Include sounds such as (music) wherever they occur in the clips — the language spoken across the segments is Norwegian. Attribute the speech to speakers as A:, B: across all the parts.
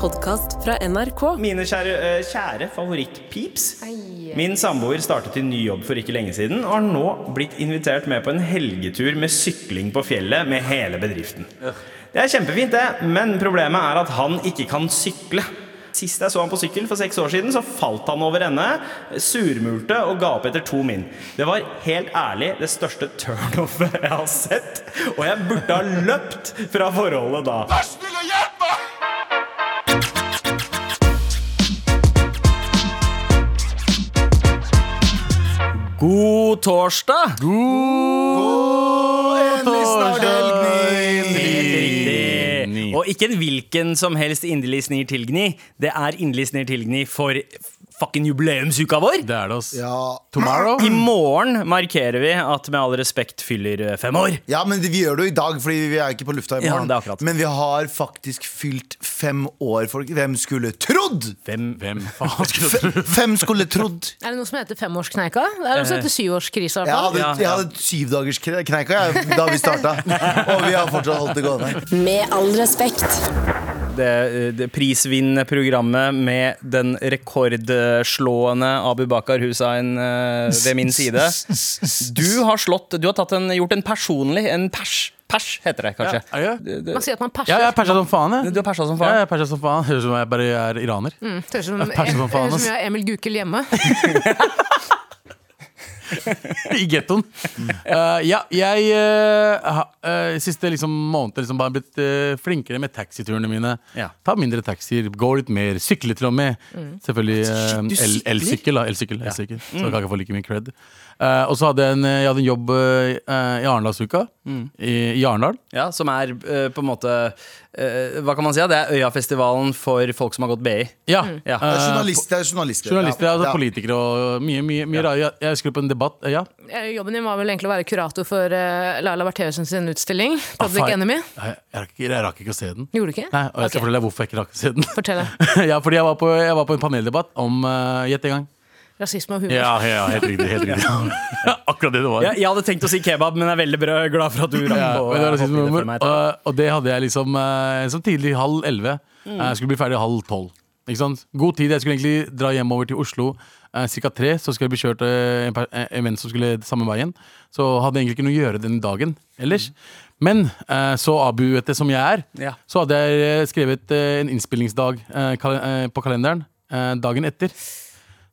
A: podkast fra NRK.
B: Mine kjære, eh, kjære favorittpips. Min samboer startet i ny jobb for ikke lenge siden og har nå blitt invitert med på en helgetur med sykling på fjellet med hele bedriften. Det er kjempefint, det, men problemet er at han ikke kan sykle. Sist jeg så han på sykkel, for seks år siden, så falt han over ende, surmulte og ga opp etter to min. Det var helt ærlig det største turnoffet jeg har sett, og jeg burde ha løpt fra forholdet da.
C: Vær snill og hjelp meg!
D: God torsdag!
E: Endelig snart helg, Nick.
B: Helt riktig.
D: Ni.
B: Og ikke en hvilken som helst inderlig snir tilgni. Det er inderlig snir tilgni for fucking jubileumsuka vår.
D: Det er det, ass.
E: Ja.
D: Tomorrow?
B: I morgen markerer vi at Med all respekt fyller eh, fem år.
E: ja, men vi gjør det jo i dag, Fordi vi er ikke på lufta i
B: Ja,
E: morgen.
B: det er akkurat.
E: men vi har faktisk fylt fem år, folk. Hvem skulle trodd?
B: Fem.
D: Hvem
B: (laughs)
D: faen skulle tro
E: F- Fem skulle trodd.
F: Er det noe som heter femårskneika? Det er noe
D: Eh,
F: som heter syvårskrisa. i
E: Jeg
F: hvert fall.
E: hadde,
B: Ja,
E: jeg
B: ja.
E: hadde syvdagerskneika da vi starta,
B: (laughs)
E: og vi har fortsatt holdt det gående.
B: Eh,
A: Med all respekt.
B: Det, eh, det prisvinnende programmet med den rekordslående Abu Bakar Hussein eh, ved min
D: (laughs)
B: side. Du har slått Du har tatt en, gjort en personlig En pers. Pers heter det kanskje.
D: Er jeg?
B: Det- det-
F: Man sier at man perser.
D: Ja, jeg er persa som faen, jeg.
B: Du har persa som
D: Ja,
B: faen.
D: jeg er persa som faen. Høres ut som jeg bare er iraner. (laughs)
F: Mm, det Høres ut som,
D: Jeg perser som
F: høres ut
D: faen, ass.
F: (laughs) som jeg er Emil Gukild hjemme.
D: I gettoen. Eh, ja, jeg eh, ha- eh, siste liksom måned liksom bare blitt eh, flinkere med taxiturene mine.
B: Ja.
D: Ta mindre taxier, gå litt mer, sykle til og med. Selvfølgelig eh,
B: Shit, du sykler? Mm.
D: el- elsykkel, da. Elsykkel, elsykkel. Så jeg kan ikke få like mye cred. Eh, og så hadde jeg en, eh, jeg hadde en jobb eh, i Arendalsuka,
B: Mm.
D: i, i Arendal.
B: Ja, som er eh, på en måte eh, Hva kan man si? ja? Det er Øyafestivalen for folk som har gått BI.
D: Ja.
B: Mm. Ja.
E: Det er
D: eh,
E: journalist- det er journalister.
D: Journalister, altså
E: Ja.
D: politikere og mye, mye, mye rare. Jeg, jeg skulle på en debatt, ja.
F: Eh, Jobben din var vel egentlig å være kurator for eh, Laila Bertheussen sin utstilling. Public
D: Ah, faen.
F: Enemy.
D: Nei, Jeg rakk, ikke- jeg rakk ikke å se den.
F: Gjorde du ikke?
D: Nei, og jeg skal
F: Ok,
D: fortelle deg hvorfor jeg ikke rakk å se den. (laughs)
F: Fortell deg.
D: ja, fordi jeg var på, jeg var på en paneldebatt om uh, Gjett en gang.
F: Rasisme og humor.
D: Ja, ja, helt riktig. Helt riktig. (laughs) Akkurat det det var.
B: Jeg, jeg hadde tenkt å si kebab, men jeg er veldig bra, glad for at du rakk
D: Ja,
B: på. eh,
D: men det var rasisme
B: hoppinnet
D: og
B: for
D: humor.
B: meg.
D: Og, og det hadde jeg liksom eh, som tidlig halv elleve. Eh,
B: Mm.
D: skulle bli ferdig halv tolv. Ikke sant? God tid. Jeg skulle egentlig dra hjem over til Oslo eh, cirka tre. Så skulle jeg bli kjørt eh, en, per- eh, en venn som skulle samme veien. Så hadde jeg egentlig ikke noe å gjøre den dagen ellers. Men eh, så abuete som jeg er,
B: Mm. Ja.
D: så hadde jeg eh, skrevet eh, en innspillingsdag eh, kal eh, på kalenderen eh, dagen etter.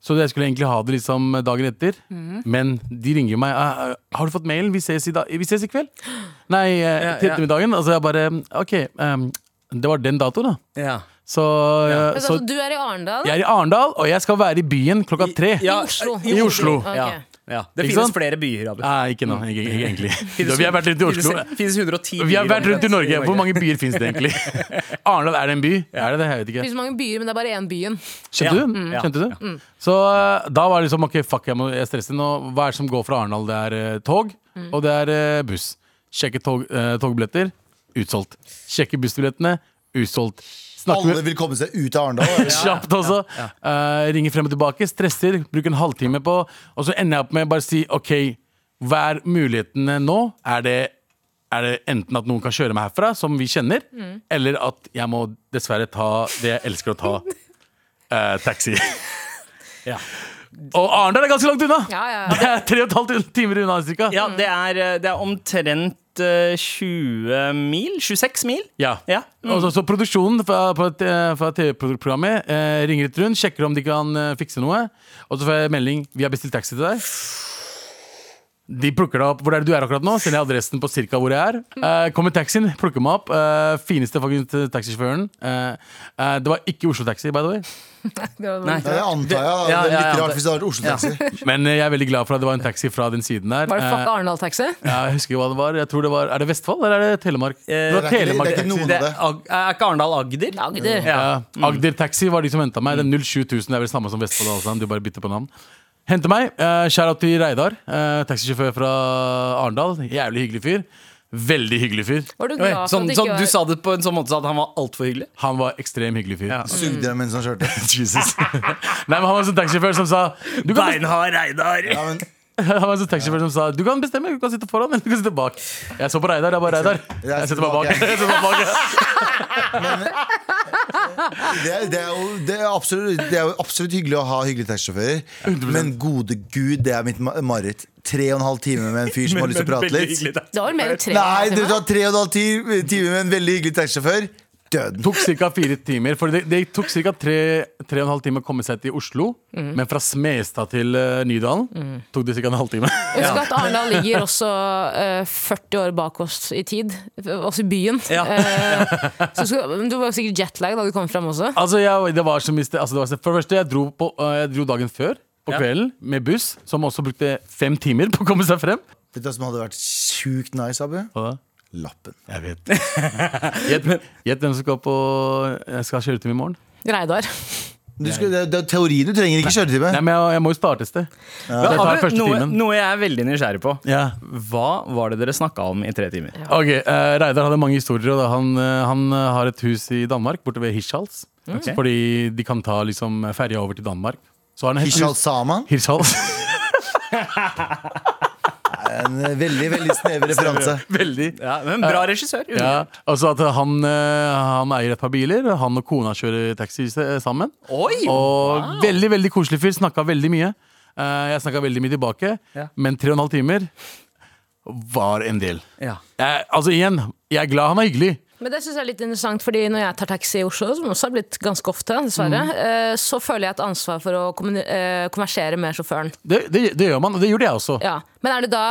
D: Så jeg skulle egentlig ha det liksom dagen etter.
F: Mhm.
D: Men de ringer meg. «Eh, eh, 'Har du fått mailen? Vi ses i, dag- vi ses i kveld.' Nei, eh,
B: Ja,
D: til
B: ja.
D: ettermiddagen. Altså jeg bare Ok, ehm, det var den datoen, da.
B: Ja.
D: Så, eh,
F: Men,
D: så
F: altså, du er i Arendal?
D: jeg er i Arendal, og jeg skal være i byen klokka tre.
B: Ja,
F: I Oslo.
D: I Oslo.
F: Ok.
B: Ja, ja. Det
D: Ikke
B: finnes
D: sant?
B: flere byer, Abu.
D: Nei, ikke nå, ikke,
F: (laughs)
D: ikke egentlig. Da, vi har vært rundt i Oslo.
B: Finnes, finnes 110 byer
D: Vi har vært rundt i
B: omtrent
D: Norge. Hvor mange byer finnes det
F: (laughs)
D: egentlig? Arendal, er det en by? Er det det? Jeg vet
F: Det
D: ikke.
F: finnes mange byer, men det er bare én byen. (laughs)
B: Ja.
D: Skjønte du?
B: Mm.
D: Skjønte du? Så eh, da var det liksom ok, fuck, jeg, må, jeg stresser nå. Hva er det som går fra Arendal? Det er eh, tog,
B: Mm.
D: og det er eh, buss. Sjekke tog, eh, togbilletter, utsolgt. Sjekke bussbillettene, utsolgt. Snakke
E: Alle
D: med
E: vil komme seg ut av Arendal.
D: (laughs) Kjapt også. Eh, ringer frem og tilbake, stresser, bruker en halvtime på Og så ender jeg opp med å bare si OK, hva er mulighetene nå? Er det, er det enten at noen kan kjøre meg herfra, som vi kjenner,
F: Mm.
D: eller at jeg må dessverre ta det jeg elsker å
F: (laughs)
D: ta, eh, taxi.
B: Ja.
D: Og Arendal er ganske langt unna!
F: Ja, ja, ja.
D: Det er tre og et halvt timer unna cirka.
B: Ja, det er, eh, det er omtrent eh, 20 mil? 26 mil?
D: Ja.
B: Ja.
D: Og så, så produksjonen fra, på et, eh, fra TV-programmet eh, ringer litt rundt, sjekker om de kan eh, fikse noe. Og så får jeg melding Vi har bestilt taxi til deg. De plukker deg opp hvor er det du er akkurat nå. Sender jeg adressen på cirka hvor jeg er. Eh, kommer taxien, plukker meg opp. Eh, fineste faktisk taxisjåføren. Eh, eh, det var ikke Oslo Taxi, by the way.
F: Det var-
B: Nei.
E: Det antar
B: Ja,
E: jeg. da. Det er
B: ja, ja.
E: litt rart hvis det hadde vært Oslo-taxi.
D: Men eh, jeg er veldig glad for at det var en taxi fra den siden der.
F: Var det fuck
D: Eh,
F: Arendal-taxi?
D: jeg husker ikke hva det var. Jeg tror det var Er det Vestfold eller er det Telemark? det
E: Eh, det
D: var
E: er ikke- det er
D: Telemark
E: ikke
D: Taxi.
E: noen av
B: Det er,
E: det.
B: Ag- er ikke Arendal Agder?
F: Agder.
B: Ja. Mm.
D: Ja. Agder Taxi var de som henta meg. Det er 07000, det er vel samme som Vestfold. Altså. Du bare bytter på navn. Hente meg. Uh, Shout-out til Reidar, eh, taxisjåfør fra Arendal. Jævlig hyggelig fyr. Veldig hyggelig fyr.
F: Var du
B: Oi,
F: glad for
B: Sånn,
F: at det
B: sånn,
F: ikke
B: du
F: var
B: sa det på en sånn måte så at han var altfor hyggelig?
D: sånn- Han var ekstrem hyggelig fyr.
E: Sugde dem mens han kjørte.
D: (laughs) Jesus. (laughs) Nei, men han var en sånn taxisjåfør som sa du kan bestemme,
B: Beinhard Reidar!
E: Ja, men,
D: (laughs) Han var en sånn taxisjåfør som sa Du kan bestemme, du kan sitte foran eller du kan sitte bak. (laughs) Jeg så på Reidar, jeg bare Reidar. Jeg sitter meg bak. Jeg sitter meg bak.
E: Det er, det, er jo, det, er absolutt, det er jo absolutt hyggelig å ha hyggelige taxisjåfører. Men gode gud, det er mitt ma- mareritt. Tre og en halv time med en fyr som har lyst til å prate
D: veldig
E: litt.
D: hyggelig, da.
F: Det var vel mer enn tre
E: Nei, du
F: timer.
E: tar tre og en halv ti- time med en veldig hyggelig taxisjåfør. Døden.
D: tok ca. fire timer. For det, det tok ca. Tre, tre og en halv time å komme seg til Oslo.
B: Mhm.
D: Men fra Smestad til eh, Nydalen tok det ca. en halvtime.
F: Husk at Arendal ligger også eh, 40 år bak oss i tid, også i byen.
D: Ja.
F: Eh, så skal, men du var jo sikkert jetlag da du kom fram også.
D: (laughs) altså, jeg, det var så miste, altså, det var så, for det første, jeg dro, på, eh, jeg dro dagen før. På
B: Ja.
D: kvelden, med buss, som også brukte fem timer på å komme seg frem.
E: Vet du hva som hadde vært sjukt nice, Abu? Lappen.
D: Jeg vet (laughs) Gjett gjett hvem som skal på Jeg skal ha kjøretime i morgen.
F: Reidar.
E: Du skal, det, er- det er teorien du trenger, ikke
D: Nei,
E: kjøretime.
D: men jeg, jeg må jo starte et sted. Så jeg tar første
B: noe,
D: timen.
B: noe jeg er veldig nysgjerrig på.
D: Ja.
B: Hva var det dere snakka om i tre timer?
D: Ok, eh, Reidar hadde mange historier. Og da han, eh, han eh, har et hus i Danmark, borte ved Hirtshals.
B: Mm. Ok.
D: Fordi de kan ta liksom, ferja over til Danmark. Så har han et
E: Hishal
D: hus-
E: Saman.
D: Hirtshals.
B: (laughs)
E: En eh, veldig, veldig snever referanse.
D: Veldig.
B: Ja, men Bra regissør. Ja.
D: Ja, altså at han, eh, han eier et par biler. og Han og kona kjører taxi s- sammen.
B: Oi!
D: Og veldig, veldig koselig fyr. Snakka veldig mye. Eh, Jeg snakka veldig mye tilbake,
B: Ja.
D: men tre og en halv timer var en del.
B: Ja.
D: Jeg, altså igjen, jeg er glad han er hyggelig.
F: Men det synes jeg er litt interessant, fordi når jeg tar taxi i Oslo, som også har blitt ganske ofte, dessverre, eh, så føler jeg et ansvar for å kommuni- eh, konversere med sjåføren.
D: Det, det, det gjør man, og det gjorde jeg også.
F: Ja. Men er det da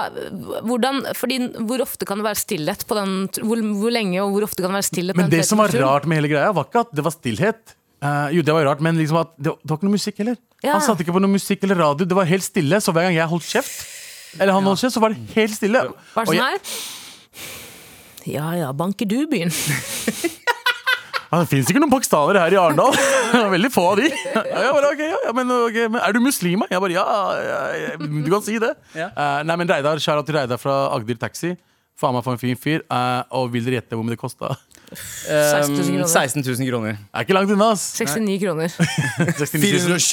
F: hvordan, fordi Hvor ofte kan det være stillhet på den Hvor, hvor lenge og hvor ofte kan det være stillhet? på
D: Men
F: den
D: det som var
F: turen?
D: rart med hele greia, var ikke at det var stillhet. Eh, jo, det var rart, men liksom at det, var- det var ikke noe musikk heller.
F: Ja.
D: Han satte ikke på noe musikk eller radio. Det var helt stille, så hver gang jeg holdt kjeft, eller han holdt kjeft, så var det helt stille.
F: Var
D: Og
F: det sånn
D: jeg-
F: her? Ja ja, banker du byen?
D: (laughs) Ja, det fins ikke noen pakistanere her i Arendal. (laughs) Det er Veldig få av de. Ja, jeg bare, ok, ja, ja, men, ok, men er du muslim? da? Jeg bare, ja, ja, ja, du kan si det.
B: Ja.
D: Eh, nei, men Reidar, Kjære til Reidar fra Agder Taxi. Faen meg for en fin fyr. Eh, og vil dere gjette hvor mye det kosta? Eh,
F: 16 000 kroner.
B: 16 000 kroner.
D: Er ikke langt unna, ass.
F: 69 kroner.
D: 69 000.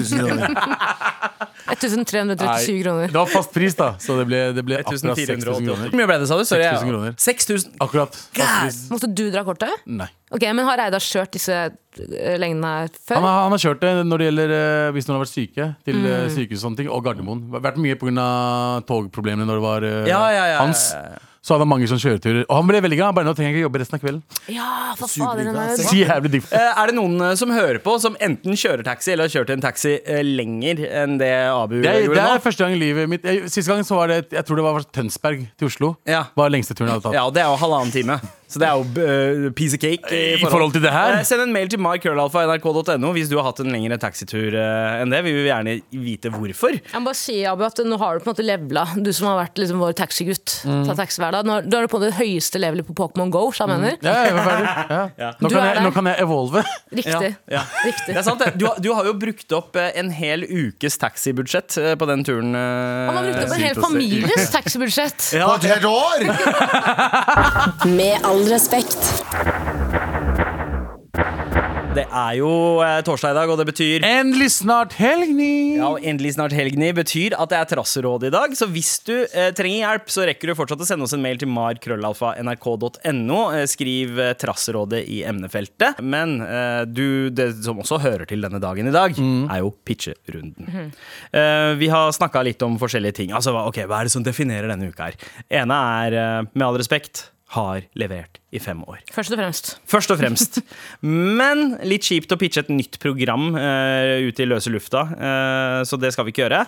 E: 420 000
D: (laughs)
E: kroner.
F: 1337
D: Det
F: kroner.
D: var fast pris, da, så det ble, det ble akkurat 6000
B: Hvor
D: kroner.
B: mye ble det, sa du? Sorry,
D: 6 000 kroner.
B: 6000
D: Akkurat. Fast pris.
F: Måtte du dra kortet?
D: Nei.
F: Ok, men Har Reidar kjørt disse eh, lengdene her
D: Han,
F: før?
D: har- han har kjørt det når det gjelder eh, hvis noen har vært syke, til eh,
F: Mm.
D: sykehus og sånne ting, og Gardermoen. Det har Vært mye pga. togproblemene når det var eh,
B: Ja, ja, ja, ja,
D: hans.
B: ja, ja.
D: Så hadde han mange sånne kjøreturer. Og han ble veldig glad. han Bare nå trenger jeg ikke jobbe resten av kvelden.
F: Ja, for
E: Superdigg,
F: fader! den
E: ass.
F: er-
D: Så Jævlig digg.
B: Eh, Er det noen eh, som hører på, som enten kjører taxi eller har kjørt en taxi eh, lenger enn det Abu
D: Det er, det
B: gjorde
D: er
B: nå?
D: første gang i livet mitt jeg, Siste gang så var det Jeg tror det var fra Tønsberg til Oslo.
B: Ja.
D: Var lengste turen jeg hadde tatt.
B: Ja, og det er jo halvannen time. Så det er jo uh, piece of cake.
D: I forhold til det her?
B: Eh, Send en mail til mycurlalfa.nrk.no hvis du har hatt en lengre taxitur eh, enn det. Vi vil gjerne vite hvorfor.
F: Jeg må bare si, Abu, at nå har du på en måte levela, du som har vært liksom vår taxigutt. Ta taxi hver dag. Nå er- Da er du på det høyeste levelet på Pokémon Go, sa jeg mener.
D: Ja, jeg var ferdig. Ja. Nå,
F: Du
D: kan
F: er
D: jeg,
F: der.
D: nå kan jeg evolve.
F: Riktig.
B: Ja, ja.
F: Riktig.
B: Det er sant, det. Du, har- du har jo brukt opp eh, en hel ukes taxibudsjett eh, på den turen.
F: Han har brukt opp en hel families taxibudsjett.
E: På et helt år!
A: Med all respekt.
B: Det er jo eh, torsdag i dag, og det betyr
D: Endelig snart helg, ni!
B: ja, og Endelig snart helgni betyr at det er Trasserådet i dag. Så hvis du eh, trenger hjelp, så rekker du fortsatt å sende oss en mail til markrøllalfa.nrk.no. Eh, skriv eh, Trasserådet i emnefeltet. Men eh, du, det som også hører til denne dagen i dag, er jo pitcherunden. Eh, vi har snakka litt om forskjellige ting. Altså, hva, ok, hva er det som definerer denne uka her? Ene er, eh, med all respekt, har levert i fem år.
F: Først og fremst.
B: Først og fremst. Men litt kjipt å pitche et nytt program eh, ute i løse lufta, eh, så det skal vi ikke gjøre.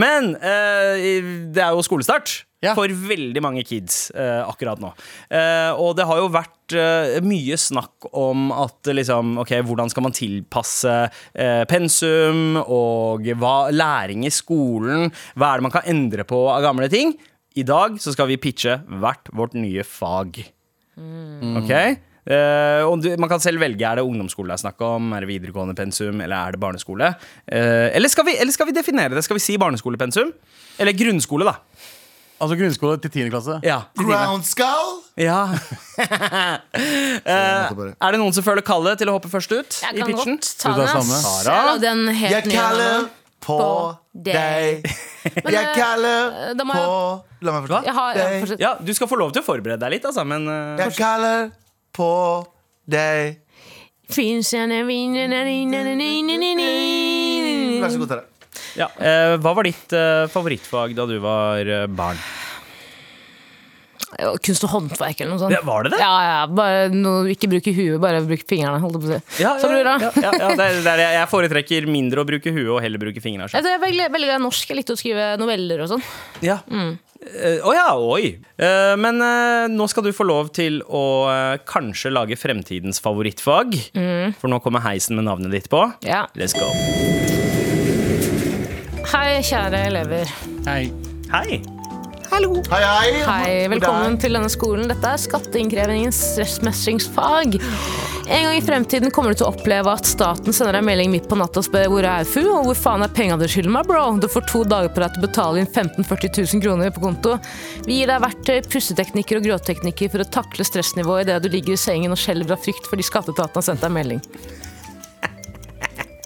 B: Men eh, det er jo skolestart.
D: Ja.
B: For veldig mange kids eh, akkurat nå. Eh, og det har jo vært eh, mye snakk om at eh, liksom, ok, hvordan skal man tilpasse eh, pensum og hva, læring i skolen? Hva er det man kan endre på av gamle ting? I dag så skal vi pitche hvert vårt nye fag. Ok? Eh, og du, man kan selv velge er det ungdomsskole det er snakk om, er det videregående pensum, eller er det barneskole. Eh, eller, skal vi, eller skal vi definere det? Skal vi si barneskolepensum? Eller grunnskole, da.
D: Altså grunnskole til 10. klasse.
B: Ja, til Trine.
E: Ground skull!
B: ja.
D: Eh,
E: måtte bare-
B: Er det noen som føler kallet til å hoppe først ut
F: Jeg
B: i
F: kan
B: pitchen?
F: godt ta
D: Du
F: den.
D: tar
F: ass.
D: samme.
B: Sara?
F: Jeg lagde en
E: Jeg
F: helt ny en av
E: kaller
F: dem.
E: på deg. (laughs) Jeg kaller
F: eh, da må
E: på
F: jeg-
E: La meg
F: Jeg
E: forstå.
F: har, ja, fortsett.
B: Ja, du skal få lov til å forberede deg litt, altså, men eh,
E: Jeg kaller på deg.
F: Fins en vin-
E: Vær så god, Tara.
B: Ja. Eh, hva var ditt eh, favorittfag da du var eh, barn?
F: Ja, Kunst og håndverk eller noe sånt.
B: Ja, var det det?
F: Ja, ja, bare noe, Ikke bruke huet, bare bruke fingrene. Holdt jeg på å si. Så blir det.
B: ja, ja, ja, det er, det er, jeg foretrekker mindre å bruke huet og heller bruke fingrene.
F: Jeg tror jeg er veldig, veldig glad i norsk. Jeg likte å skrive noveller og sånn.
B: Ja. Eh, å ja, oi! Eh, men eh, nå skal du få lov til å eh, kanskje lage fremtidens favorittfag. For nå kommer heisen med navnet ditt på.
F: Mm. Ja.
B: Let's go.
F: Hei, kjære elever.
D: Hei.
B: Hei!
E: Hei, hei.
F: Hei,
E: Hvor
F: velkommen
E: der?
F: til denne skolen. Dette er skatteinnkrevingens stressmestringsfag. En gang i fremtiden kommer du til å oppleve at staten sender deg en melding midt på natta og spør hvor er FU, og hvor faen er penga du skylder meg, bro? Du får to dager på deg til å betale inn 15 40 000 kroner på konto. Vi gir deg verktøy, pusteteknikker og gråteknikker for å takle stressnivået idet du ligger i sengen og skjelver av frykt fordi skatteetaten har sendt deg en melding.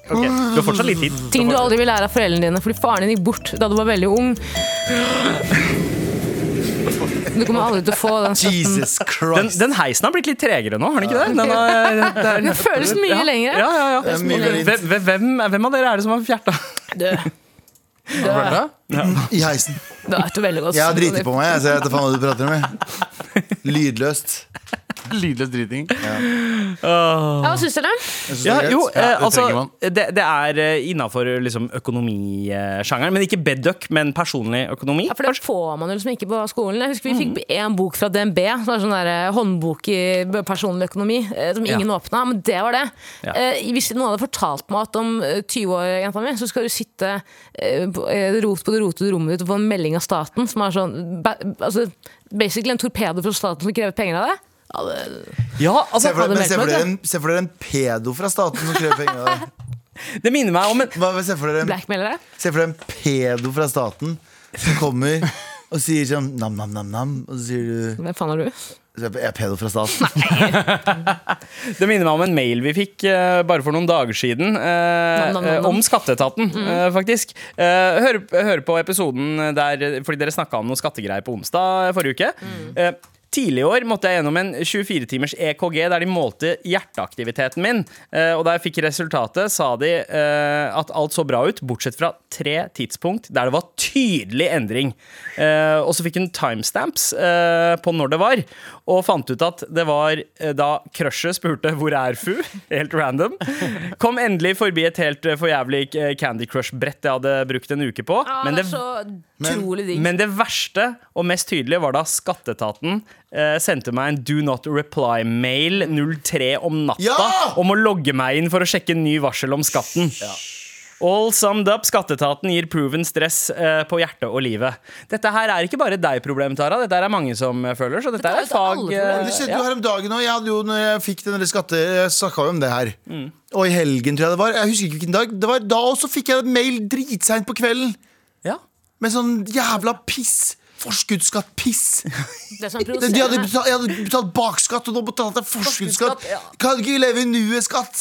B: Ok, Du har fortsatt litt tid.
F: Ting du aldri vil lære av foreldrene dine fordi faren din gikk bort da du var veldig ung. Du kommer aldri til å få den støtten.
E: Jesus
B: Den,
E: Christ.
B: den heisen har blitt litt tregere nå, har den ikke det? Den, har, det er-
F: Den føles mye lengre.
B: Ja, ja, ja.
E: er mye mer
B: Hvem, hvem, hvem av dere er det som har fjerta?
D: Hva?
E: I heisen.
F: Det er et veldig godt
E: Jeg har driti på meg, jeg, så jeg vet da faen hva du prater om. jeg. Lydløst.
D: Lydløs driting.
F: Ja, Hva syns dere?
E: Jeg synes det
B: Ja,
E: er greit.
B: jo, eh,
D: det trenger
B: altså
D: man.
B: Det, det er innafor liksom, økonomisjangeren. Men ikke bedduck, men personlig økonomi.
F: Ja, for det får man jo liksom ikke på skolen. Jeg husker Vi fikk én bok fra DNB, som var sånn der eh, håndbok i personlig økonomi, eh, som ingen
B: Ja.
F: åpna. Men det var det.
B: Ja.
F: Eh, hvis noen hadde fortalt meg at om eh, 20 år, jenta mi, så skal du sitte eh, på- eh, rot på det rotete rommet ditt og få en melding av staten som er sånn ba, altså, Basically en torpedo fra staten som krever penger av deg. Ja, det-
B: Ja, altså,
E: Se for dere-
F: Hadde
E: men se for
F: meldt
E: dere
F: meg,
E: en- se for dere en pedo fra staten som krever penger av deg.
B: det minner meg om en
E: Hva- Se for dere en
F: Blackmailere.
E: Se for deg en pedo fra staten som kommer og sier sånn nam, nam, nam, nam. Og så sier du
F: Hvem faen er du?
E: så Jeg er pedo fra staten.
B: Det minner meg om en mail vi fikk eh, bare for noen dager siden. eh,
F: Nam, nam, nam, Mm. nam.
B: Om skatteetaten, eh, faktisk. Eh, hør, hør på episoden der Fordi dere snakka om noen skattegreier på onsdag forrige uke.
F: Mm.
B: Eh, Tidlig i år måtte jeg gjennom en 24-timers EKG der de målte hjerteaktiviteten min. Eh, Og da jeg fikk resultatet, sa de eh, at alt så bra ut, bortsett fra tre tidspunkt der det var tydelig endring. Eh, Og så fikk hun timestamps eh, på når det var, og fant ut at det var eh, da crushet spurte 'Hvor er Fu?' (laughs) helt random. Kom endelig forbi et helt eh, for jævlig eh, Candy Crush-brett jeg hadde brukt en uke på.
F: Ah,
B: Men
F: det
B: det,
F: er så utrolig digg.
B: men det verste og mest tydelige var da skatteetaten eh, sendte meg en do not reply-mail 03 om natta
E: Ja!
B: om å logge meg inn for å sjekke ny varsel om skatten. All summed up, Skatteetaten gir proven stress eh, på hjertet og livet. Dette her er ikke bare deg problem, Tara. Dette her er mange som eh, føler, så dette
F: Dette er
B: er et
F: et alle
B: fag
F: problem.
B: eh,
E: Det skjedde
B: ja.
E: jo her om dagen òg. Jeg hadde jo når jeg fikk den der skatte... Jeg snakka jo om det her.
B: Mm.
E: Og i helgen, tror jeg det var. Jeg husker ikke hvilken dag. Det var Da også fikk jeg en mail dritseint på kvelden
B: Ja.
E: med sånn jævla piss.
B: (laughs)
E: Forskuddsskatt-piss.
F: Det som er sånn
E: De hadde
F: provoserende.
E: betalt, jeg hadde betalt bakskatt, og nå betalte jeg forskuddsskatt.
F: Forskuddsskatt, ja.
E: Kan ikke leve i nuet-skatt.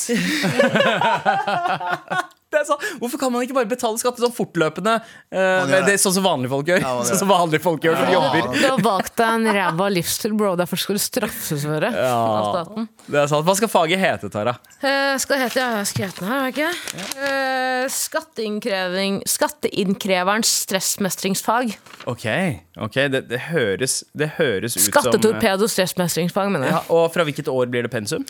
B: Det er sant. Hvorfor kan man ikke bare betale skatt sånn fortløpende? eh,
E: gjør
B: det
E: det.
B: er Sånn som vanlige folk gjør.
E: Ja, man gjør
B: (laughs) sånn som vanlige folk gjør som jobber.
F: Du har valgt deg en ræva livsstil, bro. Derfor skal du straffes for det. Av staten.
B: Det er sant. Hva skal faget hete, Tara?
F: Eh, skal det hete Ja, jeg har skrevet den her, har jeg ikke? Eh, skatteinnkreving Skatteinnkreverens stressmestringsfag.
B: Ok, ok, det, det, høres, det høres ut som eh,
F: Skattetorpedo stressmestringsfag, mener jeg.
B: ja, Og fra hvilket år blir det pensum?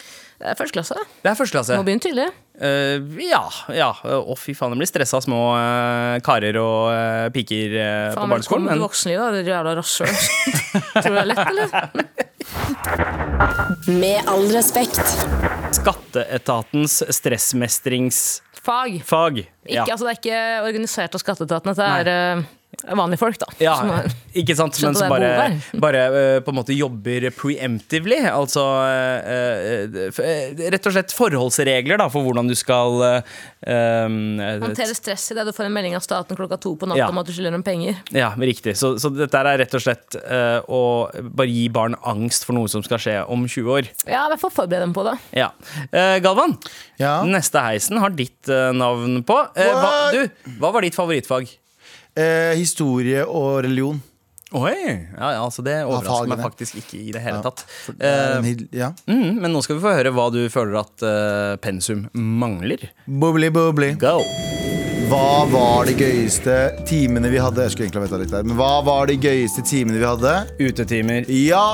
F: Det er Første klasse.
B: Det er første klasse.
F: Må begynne tidlig.
B: Eh, ja. ja. Å, fy faen, det blir stressa små eh, karer og eh, piker eh, på
F: Faen,
B: barneskolen.
F: velkommen til
B: Men
F: voksenlivet, da, dere jævla rasshøl. (laughs) Tror du det er lett, eller?
A: Med all respekt.
B: Skatteetatens stressmestringsfag.
F: Fag. Ikke,
B: Ja.
F: altså, det er ikke organisert av skatteetaten. Dette er eh, vanlige folk, da.
B: Ja,
F: som er-
B: ikke sant, men
F: Skjønte
B: som
F: det er
B: bare,
F: behov her.
B: (laughs) bare eh, på en måte jobber preemptively. Altså eh, eh, f- eh, rett og slett forholdsregler da, for hvordan du skal eh, eh,
F: Håndtere stress idet du får en melding av staten klokka to på natta
B: Ja.
F: om at du skylder dem penger.
B: Ja, men riktig. Så, så dette her er rett og slett eh, å bare gi barn angst for noe som skal skje om 20 år.
F: Ja, i hvert fall forbered dem på det.
B: Ja. Eh, Galvan,
E: Ja.
B: neste heisen har ditt eh, navn på. Eh, hva,
E: What?
B: du, hva var ditt favorittfag?
E: Eh, historie og religion.
B: Oi, ja, ja, altså Det overrasker
E: fagene.
B: meg faktisk ikke i det hele
E: Ja,
B: tatt.
E: Det er
B: Eh,
E: en hil- Ja.
B: mm, men nå skal vi få høre hva du føler at eh, pensum mangler.
E: Bubbly, bubbly.
B: Go!
E: Hva var de gøyeste timene vi hadde? Jeg skulle egentlig ha veta litt der, men hva var de gøyeste timene vi hadde?
B: Utetimer.
E: Ja,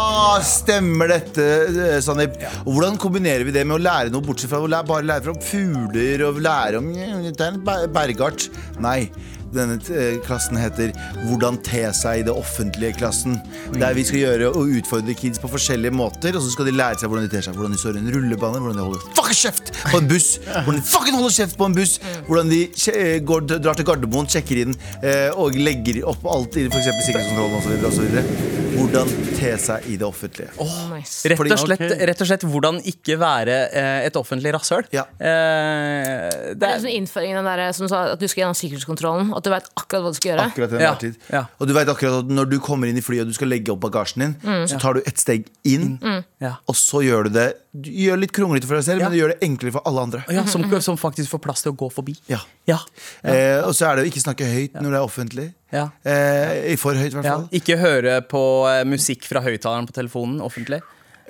E: stemmer dette, eh, Sandeep. Og Hvordan kombinerer vi det med å lære noe, bortsett fra å lære, bare lære om fugler og lære om Det er en ber- bergart. Nei. Denne eh, klassen heter 'Hvordan te seg i det offentlige klassen'. Der vi skal gjøre og utfordre kids på forskjellige måter, og så skal de lære seg hvordan de ter seg. Hvordan de står i en rullebane, hvordan de holder fucking kjeft på en buss. Hvordan de fucking holder kjeft på en buss Hvordan de kje- eh, går, drar til Gardermoen, sjekker inn eh, og legger opp alt i f.eks. sikkerhetskontrollen osv. osv. Hvordan te seg i det offentlige.
F: Nice.
B: Rett og,
E: Fordi-
B: slett,
D: Ok.
B: rett og slett hvordan ikke være eh, et offentlig rasshøl.
E: Ja.
B: Eh, det
F: Det er
B: er,
F: sånn innføringen den der, som sa at du skal gjennom sikkerhetskontrollen. At du vet akkurat hva du skal gjøre.
E: Akkurat til
B: Ja,
E: enhver tid.
B: ja.
E: Og du vet akkurat at når du kommer inn i flyet og du skal legge opp bagasjen din, så tar du et steg inn,
B: ja.
E: og så gjør du det Du gjør litt kronglete for deg selv,
B: Ja.
E: men du gjør det enklere for alle andre.
B: Ja, som, som faktisk får plass til å gå forbi.
E: Ja.
B: Ja.
E: Eh, og så er det å ikke snakke høyt når det er offentlig.
B: Ja.
E: Eh, i for høyt, i hvert
B: Ja.
E: fall.
B: Ikke høre på eh, musikk fra høyttaleren på telefonen offentlig.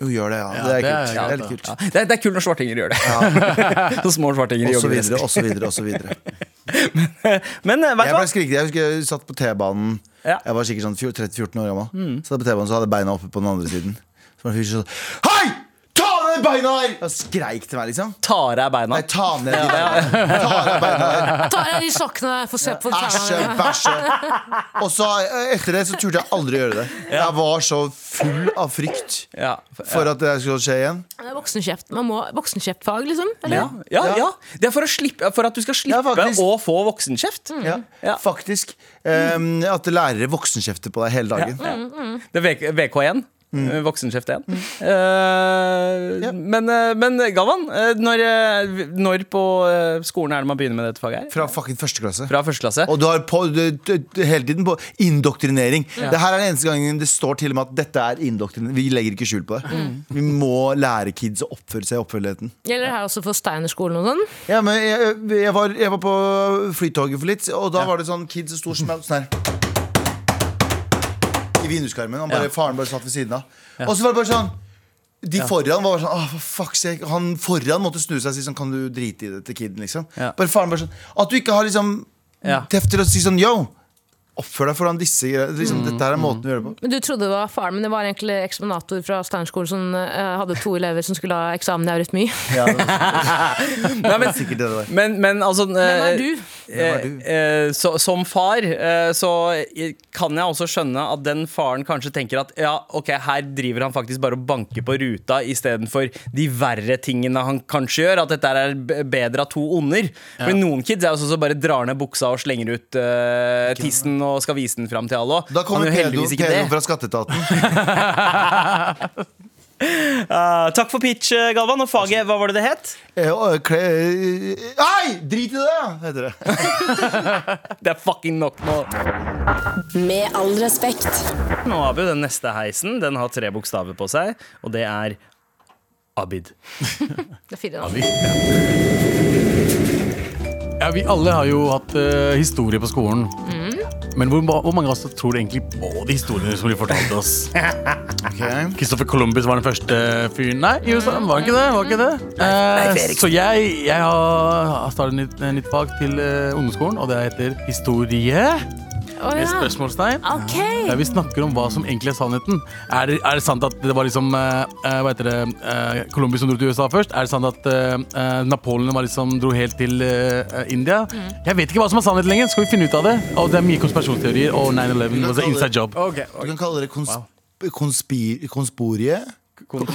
E: Jo, gjør det, ja.
D: Ja,
E: det er
D: det er
E: kult. Det
D: greit,
E: er litt
D: da.
E: kult.
B: Ja. Det, er, det er kult når svartinger gjør det. (laughs) Så små svartinger
E: Og så
B: jobber
E: videre,
B: videre.
E: og så videre, og så videre.
B: Men eh, vet
E: Jeg
B: du hva?
E: ble skriket. Jeg husker jeg satt på T-banen.
B: Ja. Mm.
E: Jeg var sikkert sånn 13-14 år gammel. Satt på T-banen, så hadde jeg beina oppe på den andre siden. Så var det en fyr som sånn Hei! Ta ned beina her! Og skreik til meg, liksom.
B: Tar av beina.
E: Nei, ta ned de beina. Ta ned beina her.
F: Ta av de sokkene der, få se på
E: Æsje,
F: tærne.
E: bæsje. Og så eh, etter det så turte jeg aldri å gjøre det. Jeg var så full av frykt
B: Ja.
E: for at det skulle skje igjen.
F: Det er Voksenkjeft. Man må voksenkjeftfag, liksom. Eller?
B: Ja, ja,
E: Ja.
B: ja. Det er for, å slippe, for at du skal
E: Ja,
B: slippe
E: faktisk.
B: å få voksenkjeft.
E: Ja,
B: Ja.
E: Faktisk. em, at lærere voksenkjefter på deg hele dagen.
B: Ja. Det er VK- VK1. eh, Voksenkjeft 1. Eh,
E: Ja.
B: men, eh, men Galvan, eh, når, eh, når på eh, skolen er det man begynner med dette faget her?
E: Fra fucking første klasse.
B: Fra første klasse?
E: Og du har på, du, du, du, hele tiden på indoktrinering. Det her er den eneste gangen det står til og med at dette er indoktrinering. Vi legger ikke skjul på det. Vi må lære kids å oppføre seg i oppførseligheten.
F: Gjelder det her også for Steinerskolen og sånn?
E: Ja, men jeg, jeg, var, jeg var på flytoget for litt, og da var det sånn kids som sto og smalt sånn her. I vinduskarmen. Han bare, Faren bare satt ved siden av. Og så var det bare sånn de foran var bare sånn «Åh, for fuck sake. Han foran måtte snu seg og si sånn Kan du drite i det til kiden, liksom?
B: Ja.
E: Bare faren bare sånn At du ikke har liksom
B: Ja.
E: teft til å si sånn yo! Oppfør deg foran disse greiene. Liksom, Dette her er måten vi gjør
B: (laughs)
E: det på.
F: Men Du trodde det var faren, men det var egentlig eksaminator fra Steinerskolen som eh, hadde to elever som skulle ha eksamen i eurytmi.
E: Ja, det var
B: Nei, men,
E: sikkert det det var.
B: men, men altså
F: Hvem
B: eh,
F: er du?
E: Hvem er du?
B: eh, eh, så, som far eh, så eh, kan jeg også skjønne at den faren kanskje tenker at ja, ok, her driver han faktisk bare og banker på ruta istedenfor de verre tingene han kanskje gjør. At dette er b- bedre av to onder. For noen kids er jo sånn som bare drar ned buksa og slenger ut eh, tissen og skal vise den fram til alle. Han
E: Da kommer
B: gjør
E: pedo,
B: heldigvis ikke
E: pedo
B: det. (laughs)
E: fra skatteetaten.
B: Eh, takk for pitch, eh, Galvan. Og faget, hva var det det het?
E: Eh, og kle- eh, Hei! Drit i det! heter det.
B: Det er fucking nok nå.
A: Med all respekt.
B: Nå har vi jo den neste heisen. Den har tre bokstaver på seg, og det er Abid.
F: Det er fire navn.
D: Ja, vi alle har jo hatt eh, historie på skolen.
F: Mm.
D: Men hvor, ma- hvor mange av oss tror egentlig på de historiene som blir fortalt oss?
F: (laughs)
E: (laughs) Ok.
D: Christopher Columbus var den første fyren Nei, i USA, var han ikke det? Var han ikke det? Eh, så jeg, jeg har startet nytt, eh, nytt fag til eh, ungdomsskolen, og det heter historie.
F: Å,
D: Med
F: ja.
D: spørsmålstegn.
F: Ok!
D: Der vi snakker om hva som egentlig er sannheten. Er det, er det sant at det var liksom eh, eh, Hva heter det eh, Columbus som dro til USA først? Er det sant at eh, eh, Napoleon var liksom, dro helt til eh, eh, India? Jeg vet ikke hva som er sannheten lenger. Skal vi finne ut av det? Og det er mye konspirasjonsteorier. Og 9-11 was an inside job.
E: Du kan kalle det konsp konspir konsporie.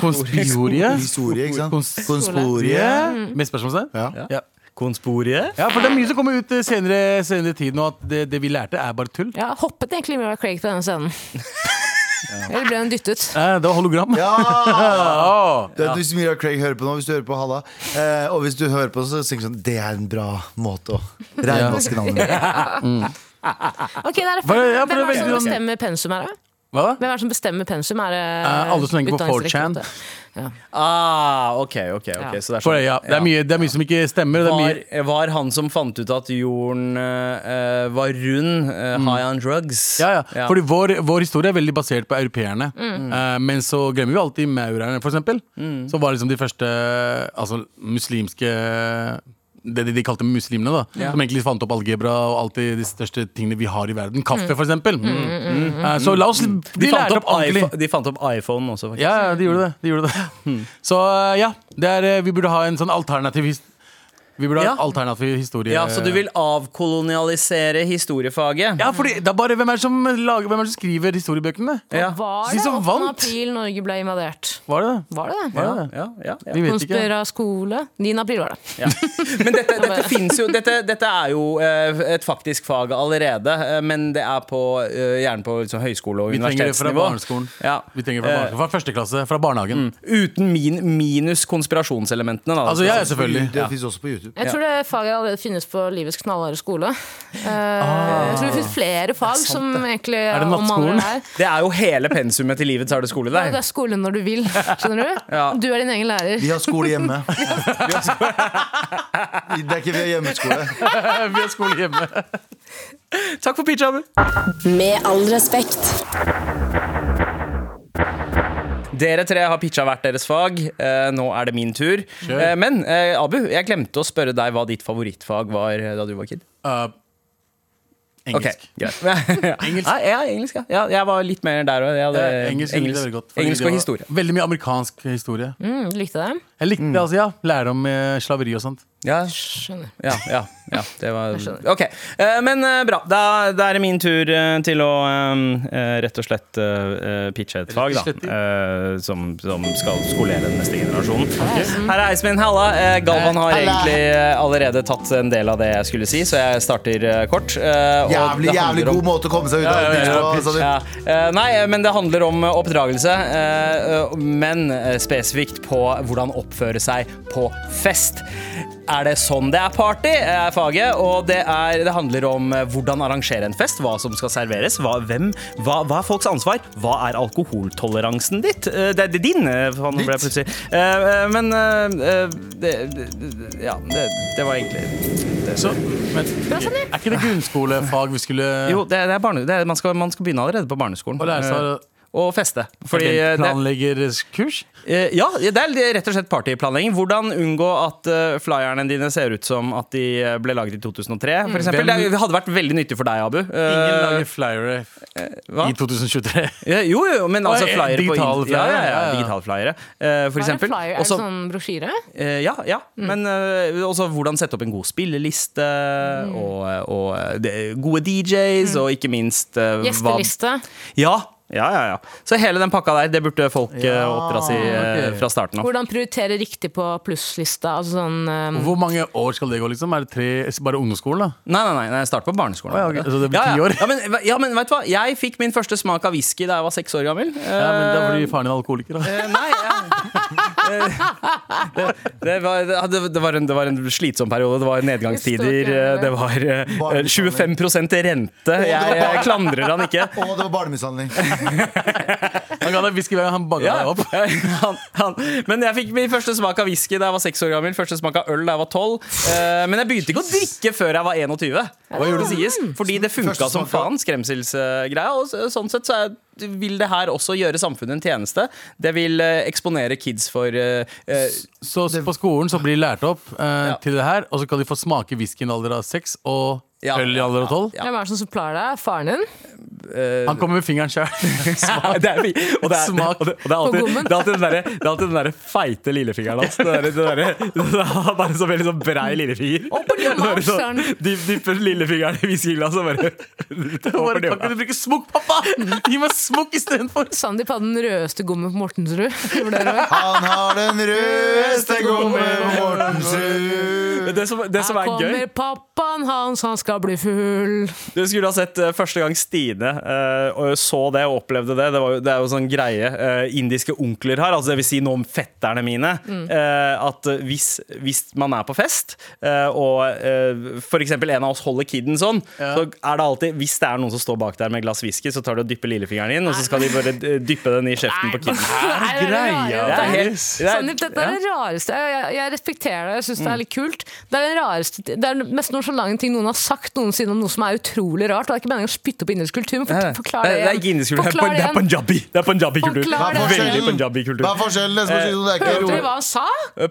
D: Konspiriorie?
E: Historie, ikke sant?
D: Kons-
E: Konsporie.
D: Med spørsmålstegn?
E: Ja.
D: Ja.
B: Konsporie?
D: ja, for det er mye som kommer ut eh, senere, senere i tid nå, at det, det vi lærte, er bare tull.
F: Ja, hoppet egentlig Mira Craig på denne scenen. Eller ble hun dyttet?
D: Eh, det var hologram. (laughs)
E: Ja!
D: Åh.
E: Det er du som Mira Craig hører på nå, hvis du hører på Halla. Eh, og hvis du hører på, så tenker du sånn Det er en bra måte å regnvaske navnet på.
F: Ok, det er
D: Hva- ja, for
F: Hvem er
D: det er
F: det som
D: veldig sånn-
F: bestemmer pensum her, da?
D: Hva?
F: Hvem er det som bestemmer pensum? Er det
D: Eh, alle som legger på 4chan.
F: Utdanningsdirektoratet? Ja.
B: Ah, ok, ok, ok
F: Ja.
B: Så det er
D: For
B: sånn
D: det, ja. det, er mye, det er mye som ikke stemmer. og Det er
B: var,
D: mye.
B: var han som fant ut at jorden eh, var rund, eh, high on drugs?
D: Ja, ja. Fordi vår, vår historie er veldig basert på europeerne.
B: Mm.
D: Eh, men så glemmer vi alltid maurerne, for eksempel. Som var liksom de første altså, muslimske det de, de kalte muslimene, da. Som egentlig fant opp algebra og alt de, de største tingene vi har i verden. Kaffe,
B: Mm.
D: for eksempel. Eh, så la oss
B: de,
D: bli
B: fant
D: lært opp
B: opp
D: ordentlig.
B: iPhone, de fant opp iPhone også, faktisk.
D: Ja, ja, de gjorde det. De gjorde det.
B: Mm.
D: Så eh, ja, det er, eh, vi burde ha en sånn alternativ his Vi burde ha en
B: Ja.
D: alternativ historie.
B: Ja, Så du vil avkolonialisere historiefaget?
D: Ja, fordi det er bare Hvem er det som, lager, hvem er det som skriver historiebøkene?
B: Ja.
F: Var
D: De
F: det
D: som
F: 8.
D: vant.
F: april Norge ble invadert?
D: Var det det?
F: Var det det?
D: Var det det?
B: ja, ja, ja.
D: Vi vet ikke.
F: Konspira skole? 9. april var det.
B: Ja. (laughs) Men dette, dette finnes jo dette, dette er jo eh, et faktisk fag allerede, eh, men det er på, eh, gjerne på liksom, høyskole- og
D: Vi trenger det fra
B: universitetsnivå.
D: barneskolen.
B: Ja. Mm. Eh,
D: Vi trenger det fra, barneskolen. fra første klasse, fra barnehagen.
B: Uten min, minus konspirasjonselementene, da.
D: Altså, ja, ja,
B: (laughs)
D: selvfølgelig.
E: Det finnes også på YouTube.
F: Jeg tror det faget allerede finnes på livets knallharde skole. Eh, Jeg tror det finnes flere fag som egentlig
D: det
F: omhandler
D: nattskolen?
F: det her.
B: Det er jo hele pensumet til livets harde skole
F: Det
B: der.
F: er skole når du vil, skjønner du?
B: Ja.
F: Du er din egen lærer.
E: Vi har skole hjemme. Det er ikke vi har hjemmeskole.
D: Vi har skole hjemme.
B: (laughs) Takk for pitcha, Abu.
A: Med all respekt.
B: Dere tre har pitcha hvert deres fag. Eh, nå er det min tur. Eh, men eh, Abu, jeg glemte å spørre deg hva ditt favorittfag var eh, da du var kid.
D: Uh, engelsk.
B: Ok, greit. (laughs) Nei, ja, engelsk, ja. ja. Jeg var litt mer der òg.
D: Eh, engelsk, likte jeg veldig godt, fordi
B: engelsk
D: det
B: og
D: var
B: historie. Mm.
D: Veldig mye amerikansk historie.
F: Mm, likte det.
D: Jeg likte det, altså, ja. Lære om eh, slaveri og sånt.
B: Ja,
F: Skjønner.
B: ja, ja, ja det var
F: skjønner.
B: Ok, eh, men eh, bra. Da, da er det min tur eh, til å eh, eh, rett og slett eh, eh, pitche et fag, da.
D: slett,
B: eh, som, som skal skolere den neste generasjonen. Her er Eismin. Halla. Eh, Galvan har
E: Halla.
B: egentlig eh, allerede tatt en del av det jeg skulle si, så jeg starter eh, kort. eh, og
E: Jævlig,
B: det handler
E: jævlig
B: om-
E: god måte å komme seg ut av det på. sånn.
B: ja. Eh, Nei, eh, men det handler om eh, oppdragelse. eh, eh, Men eh, spesifikt på hvordan oppføre seg på fest. Er det sånn det er party, er faget. Og det, er, det handler om eh, hvordan arrangere en fest, hva som skal serveres, hva, hvem, hva, hva er folks ansvar, hva er alkoholtoleransen ditt? Eh, Det er din, eh, faen, nå ble jeg plutselig. Eh, eh, Men eh, eh, det, det- Ja, det, det var egentlig
D: Så, men, er ikke det grunnskolefag vi skulle
B: (laughs) Jo, det, det er barne, det er, man, skal, man skal begynne allerede på barneskolen.
D: Og lære seg å-
B: Eh, og feste. Fordi eh, det,
D: planleggerkurs?
B: Eh, Ja, det er rett og slett partyplanlegging. Hvordan unngå at eh, flyerne dine ser ut som at de eh, ble laget i 2003, for eksempel. Det
D: Mm. Hvem-
B: er- det hadde vært veldig nyttig for deg, Abu.
D: Ingen
B: Eh,
D: lager flyere
B: hva? (laughs)
D: i 2023.
B: eh, Jo, jo, men altså
D: Oi, eh,
B: flyer på
D: digitale
B: in- Ja, ja, ja,
D: flyere, ja, ja.
B: digitale flyere, eh, for
F: Hva er det
B: eksempel.
F: flyer? Er det
B: Også-
F: sånn Mm. brosjyre?
B: Eh, ja, ja. men eh, også hvordan sette opp en god spilleliste,
F: Mm.
B: og, og eh, det- gode DJs, og ikke minst eh, hva-
F: Gjesteliste?
B: Ja, ja, ja, ja. Så hele den pakka der, det burde folk ja, oppdras i eh,
D: ok.
B: fra starten av.
F: Hvordan prioritere riktig på plusslista? Altså sånn eh,
D: Hvor mange år skal det gå, liksom? Er det tre, bare ungdomsskolen, da?
B: Nei, nei, nei, nei start på barneskolen.
D: Å, ja, ok. Så det blir
B: ja,
D: ti
B: ja.
D: år?
B: Ja, men, ja, men vet du hva? Jeg fikk min første smak av whisky da jeg var seks år gammel.
D: Ja, men det er
B: Eh,
D: fordi faren din er alkoholiker. Da.
B: eh, Nei, (laughs) ja.
D: (laughs)
B: Eh, det, det, var, det, hadde- det, var en, det var en slitsom periode. Det var nedgangstider. eh, Det var eh, 25 rente. Jeg eh, klandrer han ikke.
E: Å, det var barnemishandling.
D: Han ga deg whisky hver gang han bagga
B: Ja,
D: deg opp.
B: ja, (laughs) han, han. Men jeg fikk min første smak av whisky da jeg var seks år gammel. Første smak av øl da jeg var tolv. Eh, men jeg begynte ikke å drikke før jeg var 21. Hva gjorde det sies? Fordi det funka
E: Første
B: som
E: smak av-
B: faen, skremselsgreia. Og så- sånn sett så er, vil det her også gjøre samfunnet en tjeneste. Det vil eh, eksponere kids for eh, (laughs) eh,
D: Så s- på skolen så blir de lært opp eh, til det her, og så kan de få smake whisky i en alder av seks og
B: Ja.
D: øl i alder av tolv.
B: ja.
F: Hvem er det som supplier deg? Faren din?
D: Han kommer med fingeren
B: (laughs)
D: sjøl. (laughs)
B: det er, og det er,
D: Smak
B: og det, og det er alltid, (laughs)
F: gommen.
B: det er alltid den derre det er alltid den derre feite lillefingeren hans. Det derre- det derre- det er (laughs) bare så veldig sånn brei lillefinger.
F: på lille
B: Bare så-
F: marsjen.
B: dyp- sånn, Dypper lillefingeren i whiskyglasset og
D: (laughs)
B: bare
D: Kan
B: over det.
D: ikke du bruke smokk,
B: (laughs)
D: pappa? Gi meg smokk istedenfor!
F: Sandeep hadde den rødeste gommen på Mortensrud. (laughs) Gjorde dere det?
E: Han har den rødeste gommen på Mortensrud.
B: Det det som, det som er gøy
F: kommer pappaen hans, han skal bli full.
B: Du skulle ha sett eh, første gang Stine eh, og så det og opplevde det. Det, var jo, det er jo sånn greie eh, indiske onkler har, altså det vil si noe om fetterne mine.
F: Mm.
B: eh, at eh, hvis, hvis man er på fest, eh, og eh, for eksempel en av oss holder kidden sånn, så er det alltid Hvis det er noen som står bak der med et glass whisky, så tar du og dypper lillefingeren inn, og så skal de bare eh, dyppe den i kjeften på kidden.
F: Nei, det er det
D: greia,
F: rare.
B: Det er helt- det er- Mm.
F: Sandeep, dette er det rareste. Jeg, jeg, jeg respekterer det, jeg syns det er litt kult. Det er den rareste Det er den mest nonsjalante ting noen har sagt noensinne om noe som er utrolig rart. Og det er ikke meningen å spytte på indisk kultur, men
B: Det
F: for,
B: er-
F: forklar det
B: det er ikke
F: igjen.
B: indisk kultur, det er
F: Forklar
B: pan- det er
F: igjen.
B: punjabi. Det er punjabi-kultur.
F: Forklar det.
B: Veldig punjabi-kultur.
E: Hva er forskjellen? Neste person, det er ikke
F: Hørte
E: ro-
F: du hva han sa?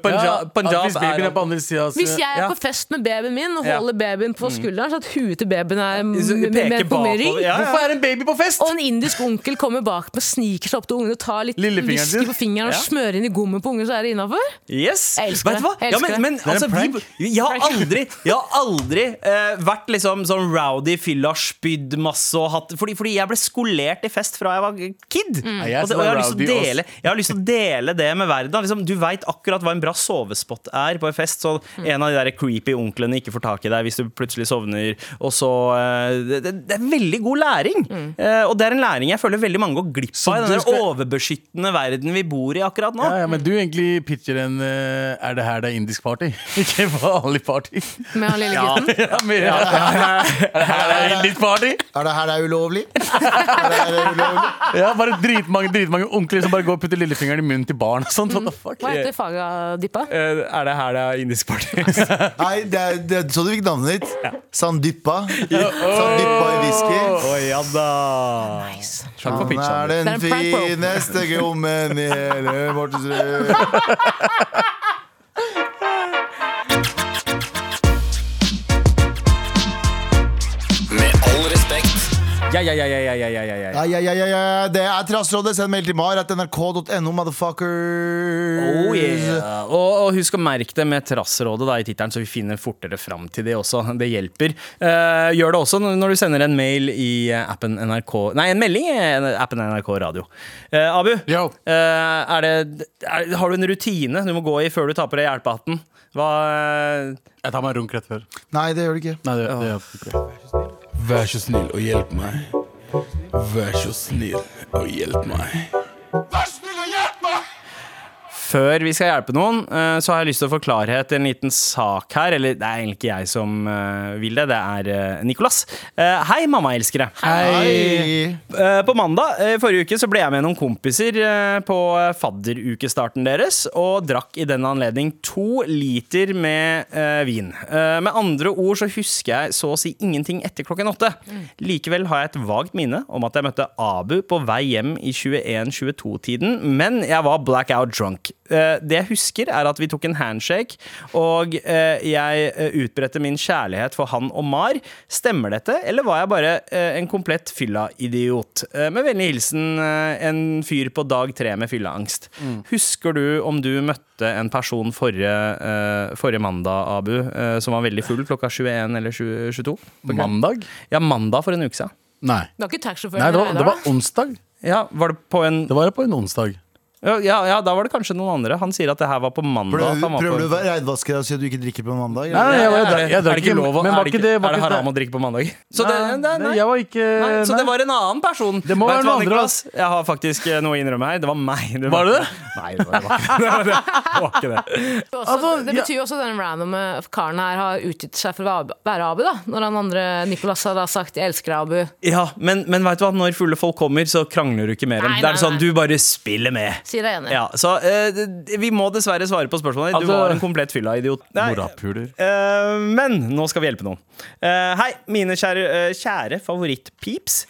B: Punjab,
D: at
B: Punjab
D: hvis babyen
B: er
D: er på andre siden, så-
F: Hvis jeg er
B: Ja.
F: på fest med babyen min
B: Ja.
F: og
B: Mm.
F: holder babyen på skulderen, så at huet til babyen er m-
B: Så
F: m-
B: peker
F: med på
B: bakover.
F: ring
B: Ja, ja.
D: Hvorfor er en baby på fest?
F: Og en indisk onkel kommer bak meg, sniker seg opp til ungen og tar litt
D: Lillefingeren
F: whisky
D: sin.
F: på fingeren og
B: Ja.
F: smører inn i gommen på ungen, så er det innafor.
B: Yes.
F: Jeg elsker
B: Vet du hva?
F: det. Jeg
B: Ja,
F: elsker
B: men, men,
F: det.
B: altså,
D: Det er en
B: vi, jeg har aldri, jeg har aldri eh, vært liksom sånn rowdy, fylla, spydd masse og hatt fordi, fordi jeg ble skolert i fest fra jeg var kid.
F: Mm.
D: Nei, jeg
B: Og, det,
D: var
B: og jeg, har lyst til å
D: rowdy
B: dele, jeg har lyst til å dele det med verden. Liksom, du veit akkurat hva en bra sovespot er på en fest, så
F: Mm.
B: en av de der creepy onklene ikke får tak i deg hvis du plutselig sovner, og så eh, det, det er veldig god læring.
F: Mm.
B: Eh, og det er en læring jeg føler veldig mange går glipp av i den
D: du
B: der
D: skal-
B: overbeskyttende verden vi bor i akkurat nå.
D: Ja, ja, men du egentlig pitcher en eh, Er det her det er indisk party? (laughs) Ikke vanlig party. (laughs)
F: Med han lille gutten.
D: Ja, men, ja, (laughs) Er det her det er indisk party?
E: Er det her det er ulovlig? Er det her det er ulovlig?
D: Ja, bare dritmange, dritmange onkler som bare går og putter lillefingeren i munnen til barn og sånt. What the fuck?
F: Hva heter faget dippa?
B: Eh, er det her det er indisk
D: (laughs)
B: party?
E: Nei, det er, det er så du fikk navnet ditt. Sandyppa. Sandyppa i whisky.
B: Å ja da. Takk for
E: Han
B: pitchen.
E: er
F: Det
E: den
F: er en prank, bro.
E: fineste gommen i hele Mortensrud.
G: Med all respekt.
B: Ja, ja, ja, ja, ja, ja, ja, ja, ja.
E: Ja, ja, ja, ja, ja. Det er Trassrådet. Send mail til mar at nrk.no, motherfucker.
B: Oh, yeah. og, og husk å merke det med Trassrådet da, i tittelen, så vi finner fortere fram til det også. Det hjelper. Eh, gjør det også når- når du sender en mail i eh, appen NRK Nei, en melding i eh, appen NRK Radio. Eh, Abu,
D: Yo.
B: eh, er det, er, har du en rutine du må gå i før du tar på deg hjelpehatten? Hva eh,
D: Jeg tar meg en runk rett før.
E: Nei, det gjør det ikke.
D: Nei, det, det gjør jeg ikke. Vær så snill og hjelp meg. Vær så snill og hjelp meg.
B: Før vi skal hjelpe noen, eh, så har jeg lyst til å få klarhet i en liten sak her. Eller det er egentlig ikke jeg som eh, vil det, det er eh, Nicolas. Eh, Hei, mammaelskere.
E: Hei.
B: Eh, På mandag eh, forrige uke så ble jeg med noen kompiser eh, på eh, fadderukestarten deres og drakk i den anledning to liter med eh, vin. Eh, Med andre ord så husker jeg så å si ingenting etter klokken åtte. Likevel har jeg et vagt minne om at jeg møtte Abu på vei hjem i 21-22-tiden, men jeg var blackout drunk. Eh, Det jeg husker, er at vi tok en handshake, og eh, jeg eh, utbredte min kjærlighet for han og Mar. Stemmer dette, eller var jeg bare eh, en komplett fylla-idiot? Eh, Med vennlig hilsen eh, en fyr på dag tre med fyllaangst.
D: Mm.
B: Husker du om du møtte en person forrige, eh, forrige mandag, Abu, eh, som var veldig full klokka 21 eller 20, 22?
D: Mandag?
B: Ja, mandag for en uke siden.
D: Nei.
F: Det var ikke taxisjåføren
D: Nei det, var,
F: Reidar,
D: det
F: da?
D: var onsdag.
B: Ja, var det på en
D: Det var på en onsdag.
B: ja, ja, da var det kanskje noen andre. Han sier at det her var på mandag. at han
E: Prøver du,
B: var på-
E: prøver du å være reidvasker og si at du ikke drikker på mandag?
D: Nei, nei, jeg, jeg,
B: Er
D: jeg,
B: det-
D: jeg
B: er
D: drakk
B: det ikke lov å-
D: Men
B: er
D: var
B: det
D: ikke det
B: ikke- Er
D: var
B: det
D: ikke
B: haram å
D: det-
B: drikke på mandag? Så
D: Ah,
B: det, nei, nei.
D: Jeg var ikke
B: Nei, så
D: nei.
B: det var en annen person.
D: Det
B: Vet
D: må
B: du hva,
D: være noen andre,
B: Niklas? Jeg har faktisk eh, noe å innrømme her. Det var meg. Det
D: Var det det?
B: Nei, det (laughs) var, det var ikke det. Var det. det, var ikke det.
F: Det, var også,
D: Altså,
F: det
D: ja.
F: betyr jo også at den randomme karen her har utgitt seg for å være- være Abu, da. Når han andre Nicolas har da sagt 'jeg elsker deg, Abu'.
B: Ja, men, men vet du hva? Når fulle folk kommer, så krangler du ikke mer. Nei,
F: Nei,
B: det er
F: nei,
B: sånn, Du
F: nei.
B: bare spiller med.
F: Si deg enig.
B: Ja, så eh, det- vi må dessverre svare på spørsmålet. Du
D: Altså-
B: var en komplett fylla-idiot. Nei,
D: Morapuler.
B: eh, men nå skal vi hjelpe noen. Eh, hei, mine kjære, uh, kjære favorittpips.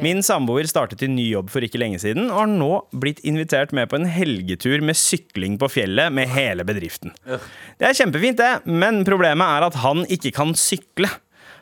B: Min samboer startet i ny jobb for ikke lenge siden, og har nå blitt invitert med på en helgetur med sykling på fjellet med hele bedriften. Det er kjempefint, det, men problemet er at han ikke kan sykle.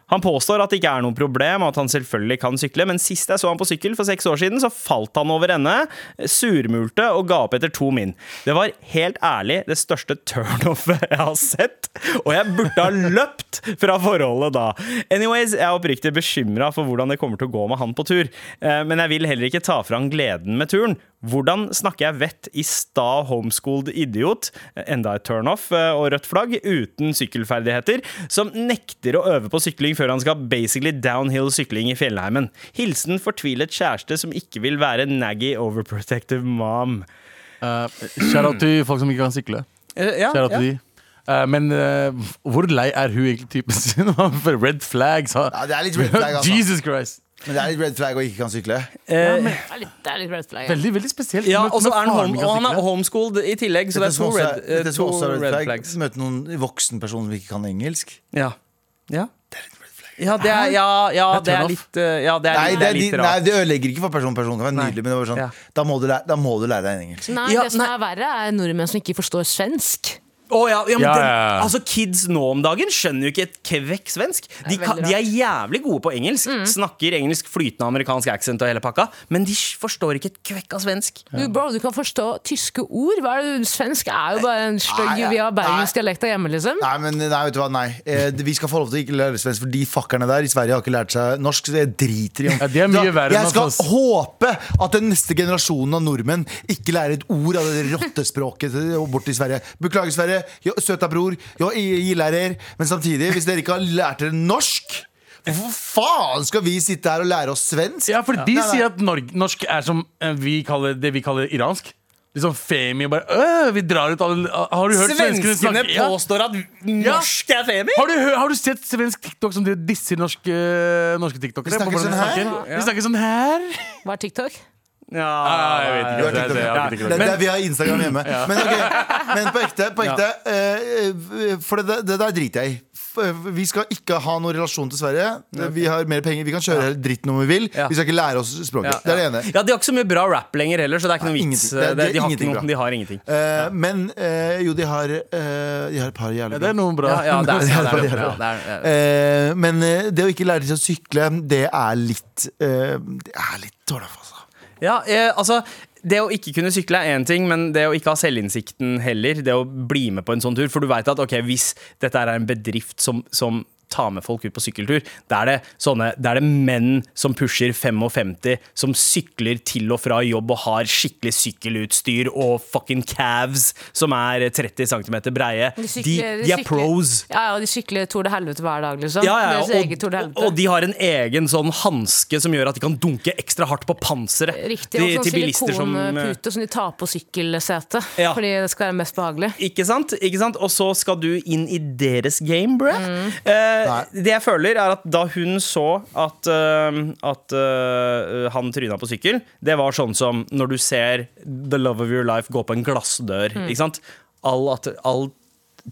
B: Han påstår at det ikke er noe problem, og at han selvfølgelig kan sykle, men sist jeg så han på sykkel for seks år siden, så falt han over ende, surmulte og ga opp etter to min. Det var helt ærlig det største turnoffet jeg har sett, og jeg burde ha løpt fra forholdet da. Anyways, jeg er oppriktig bekymra for hvordan det kommer til å gå med han på tur, eh, men jeg vil heller ikke ta fra han gleden med turen.
H: Hvordan snakker jeg vett i sta homeschooled idiot, enda et turnoff eh, og rødt flagg, uten sykkelferdigheter, som nekter å øve på sykling før han skal basically downhill sykling i fjellheimen? Hilsen fortvilet kjæreste som ikke vil være naggy overprotective mom.
D: Uh, Shout out til folk som ikke kan sykle.
B: Eh, ja,
D: Shout out
B: ja.
D: til de. Eh, men eh, hvor lei er hun egentlig typen sin? (laughs) For red flags. ha.
E: Ja, det er litt red flag, altså.
D: Jesus Christ.
E: Men det er litt red flag å ikke kan sykle.
F: Det er litt, det er litt red flag.
D: Veldig veldig spesielt.
B: Ja,
D: Møte
B: og så
D: med
B: er han,
D: faren
B: home,
D: min
B: og
D: kan
B: han er
D: sykle.
B: homeschooled i tillegg, så det
E: Dette
B: er to
E: som også
B: red, eh,
E: dette som
B: to
E: også er red
B: red
E: flag,
B: flags.
E: Møte noen voksen person som ikke kan engelsk.
B: Ja. ja. Ja, det er, ja, ja,
D: Det
B: det
D: er
B: er litt eh, Ja, det er,
E: Nei,
B: litt-
E: det,
B: det er litt
E: de, nei,
B: rart.
E: det ødelegger ikke for personen. Personen kan være
B: Nei.
E: nydelig, men det er bare sånn,
B: Ja.
E: da, må du lære, da må du lære deg engelsk.
F: Nei,
B: Ja,
F: det som
B: nei.
F: er verre, er nordmenn som ikke forstår svensk.
B: Å ja, ja, men
D: Ja,
B: den,
D: ja, ja.
B: Altså Kids nå om dagen skjønner jo ikke et kvekk-svensk. De,
F: Det er
B: kan-
F: veldig Mm.
B: de er jævlig gode på engelsk, snakker engelsk flytende amerikansk accent og hele pakka, men de sj- forstår ikke et kvekk av svensk.
F: Du, bro, du kan forstå tyske ord. Hva er det? Svensk er jo bare en stygg
E: Nei,
F: Vi har
E: nei.
F: bergensk dialekt der hjemme, liksom.
E: Nei, men nei, vet du hva, nei. Eh, vi skal få lov til å ikke lære svensk, for de fuckerne der i Sverige har ikke lært seg norsk. Så jeg driter i om
D: Ja, de er mye verre enn
E: Jeg skal
D: oss.
E: håpe at den neste generasjonen av nordmenn ikke lærer et ord av det rottespråket til- bort til Sverige. Beklager, Sverige. Jo, Søta bror. Jo, jeg jeg lærer. Men samtidig, hvis dere ikke har lært dere norsk, hvorfor faen skal vi sitte her og lære oss svensk?
D: Ja, for de
E: Nei, nei.
D: sier at Norg, norsk er som eh, vi kaller, det vi kaller iransk. Liksom femi og bare øh, Vi drar ut alle Har du hørt svenskene
B: Svenskene
D: snakke? Ja.
B: påstår at norsk er femi!
D: Har du, hø- har du sett svensk TikTok som driver og disser norske, norske TikTokere?
E: snakker
D: på hvordan
E: sånn her?
D: De snakker sånn her.
F: Hva er TikTok?
D: Ja, jeg vet
E: Du
D: ikke.
E: har TikTok,
D: Det- det- jeg har
E: ja.
D: ikke
E: Det
D: TikTok.
E: er der vi har Instagram
B: (laughs)
E: hjemme. Men, ok, men på ekte, på ekte eh, for det, det der driter jeg i. F- Vi skal ikke ha noen relasjon til Sverige. Vi har mer penger, vi kan kjøre hele dritten om vi vil.
B: Ja.
E: Vi skal ikke lære oss språket. Det er det ene.
B: Ja, De har ikke så mye bra rap lenger heller, så det er ikke
E: Nei,
B: noe vits. eh,
E: ingenting. Det er-
B: Det-
E: det er
B: de, har ikke
E: ingenting
B: noe,
E: bra.
B: de har ingenting.
E: Eh, Men eh, jo, de har, eh, de har et par jævlig
D: Ja, Det er noen bra.
B: Ja, ja,
E: (laughs)
D: (laughs)
B: det er, ja, det er,
E: Det er-
B: ja, det er, ja.
E: Eh, Men eh, det å ikke lære seg å sykle, det er litt eh, Det er litt dårlig, altså.
B: Ja, eh, altså det å ikke kunne sykle er én ting, men det å ikke ha selvinnsikten heller, det å bli med på en sånn tur For du veit at ok, hvis dette er en bedrift som, som tar med folk ut på sykkeltur, da er det sånne Da er det menn som pusher 55, som sykler til og fra jobb og har skikkelig sykkelutstyr og fucking calves som er 30 cm breie. De, de,
F: sykler-
B: er
F: sykler-
B: pros.
F: Ja, ja, de sykler Tour de Helvete hver dag, liksom.
B: Ja, ja,
F: Deres
B: og,
F: eget Tour de
B: og,
F: Helvete.
B: og de har en egen sånn hanske som gjør at de kan dunke ekstra hardt på panseret
F: Riktig.
B: De-
F: Og
B: til
F: sånn
B: bilister som, eh,
F: silikonpute som sånn de tar på sykkelsetet.
B: Ja.
F: (laughs) Fordi det skal være mest behagelig.
B: Ikke sant? ikke sant? Og så skal du inn i deres game, bruh. Eh, det jeg føler, er at da hun så at, eh, at eh, han tryna på sykkel, det var sånn som når du ser the love of your life gå på en glassdør. Ikke sant? All, at, all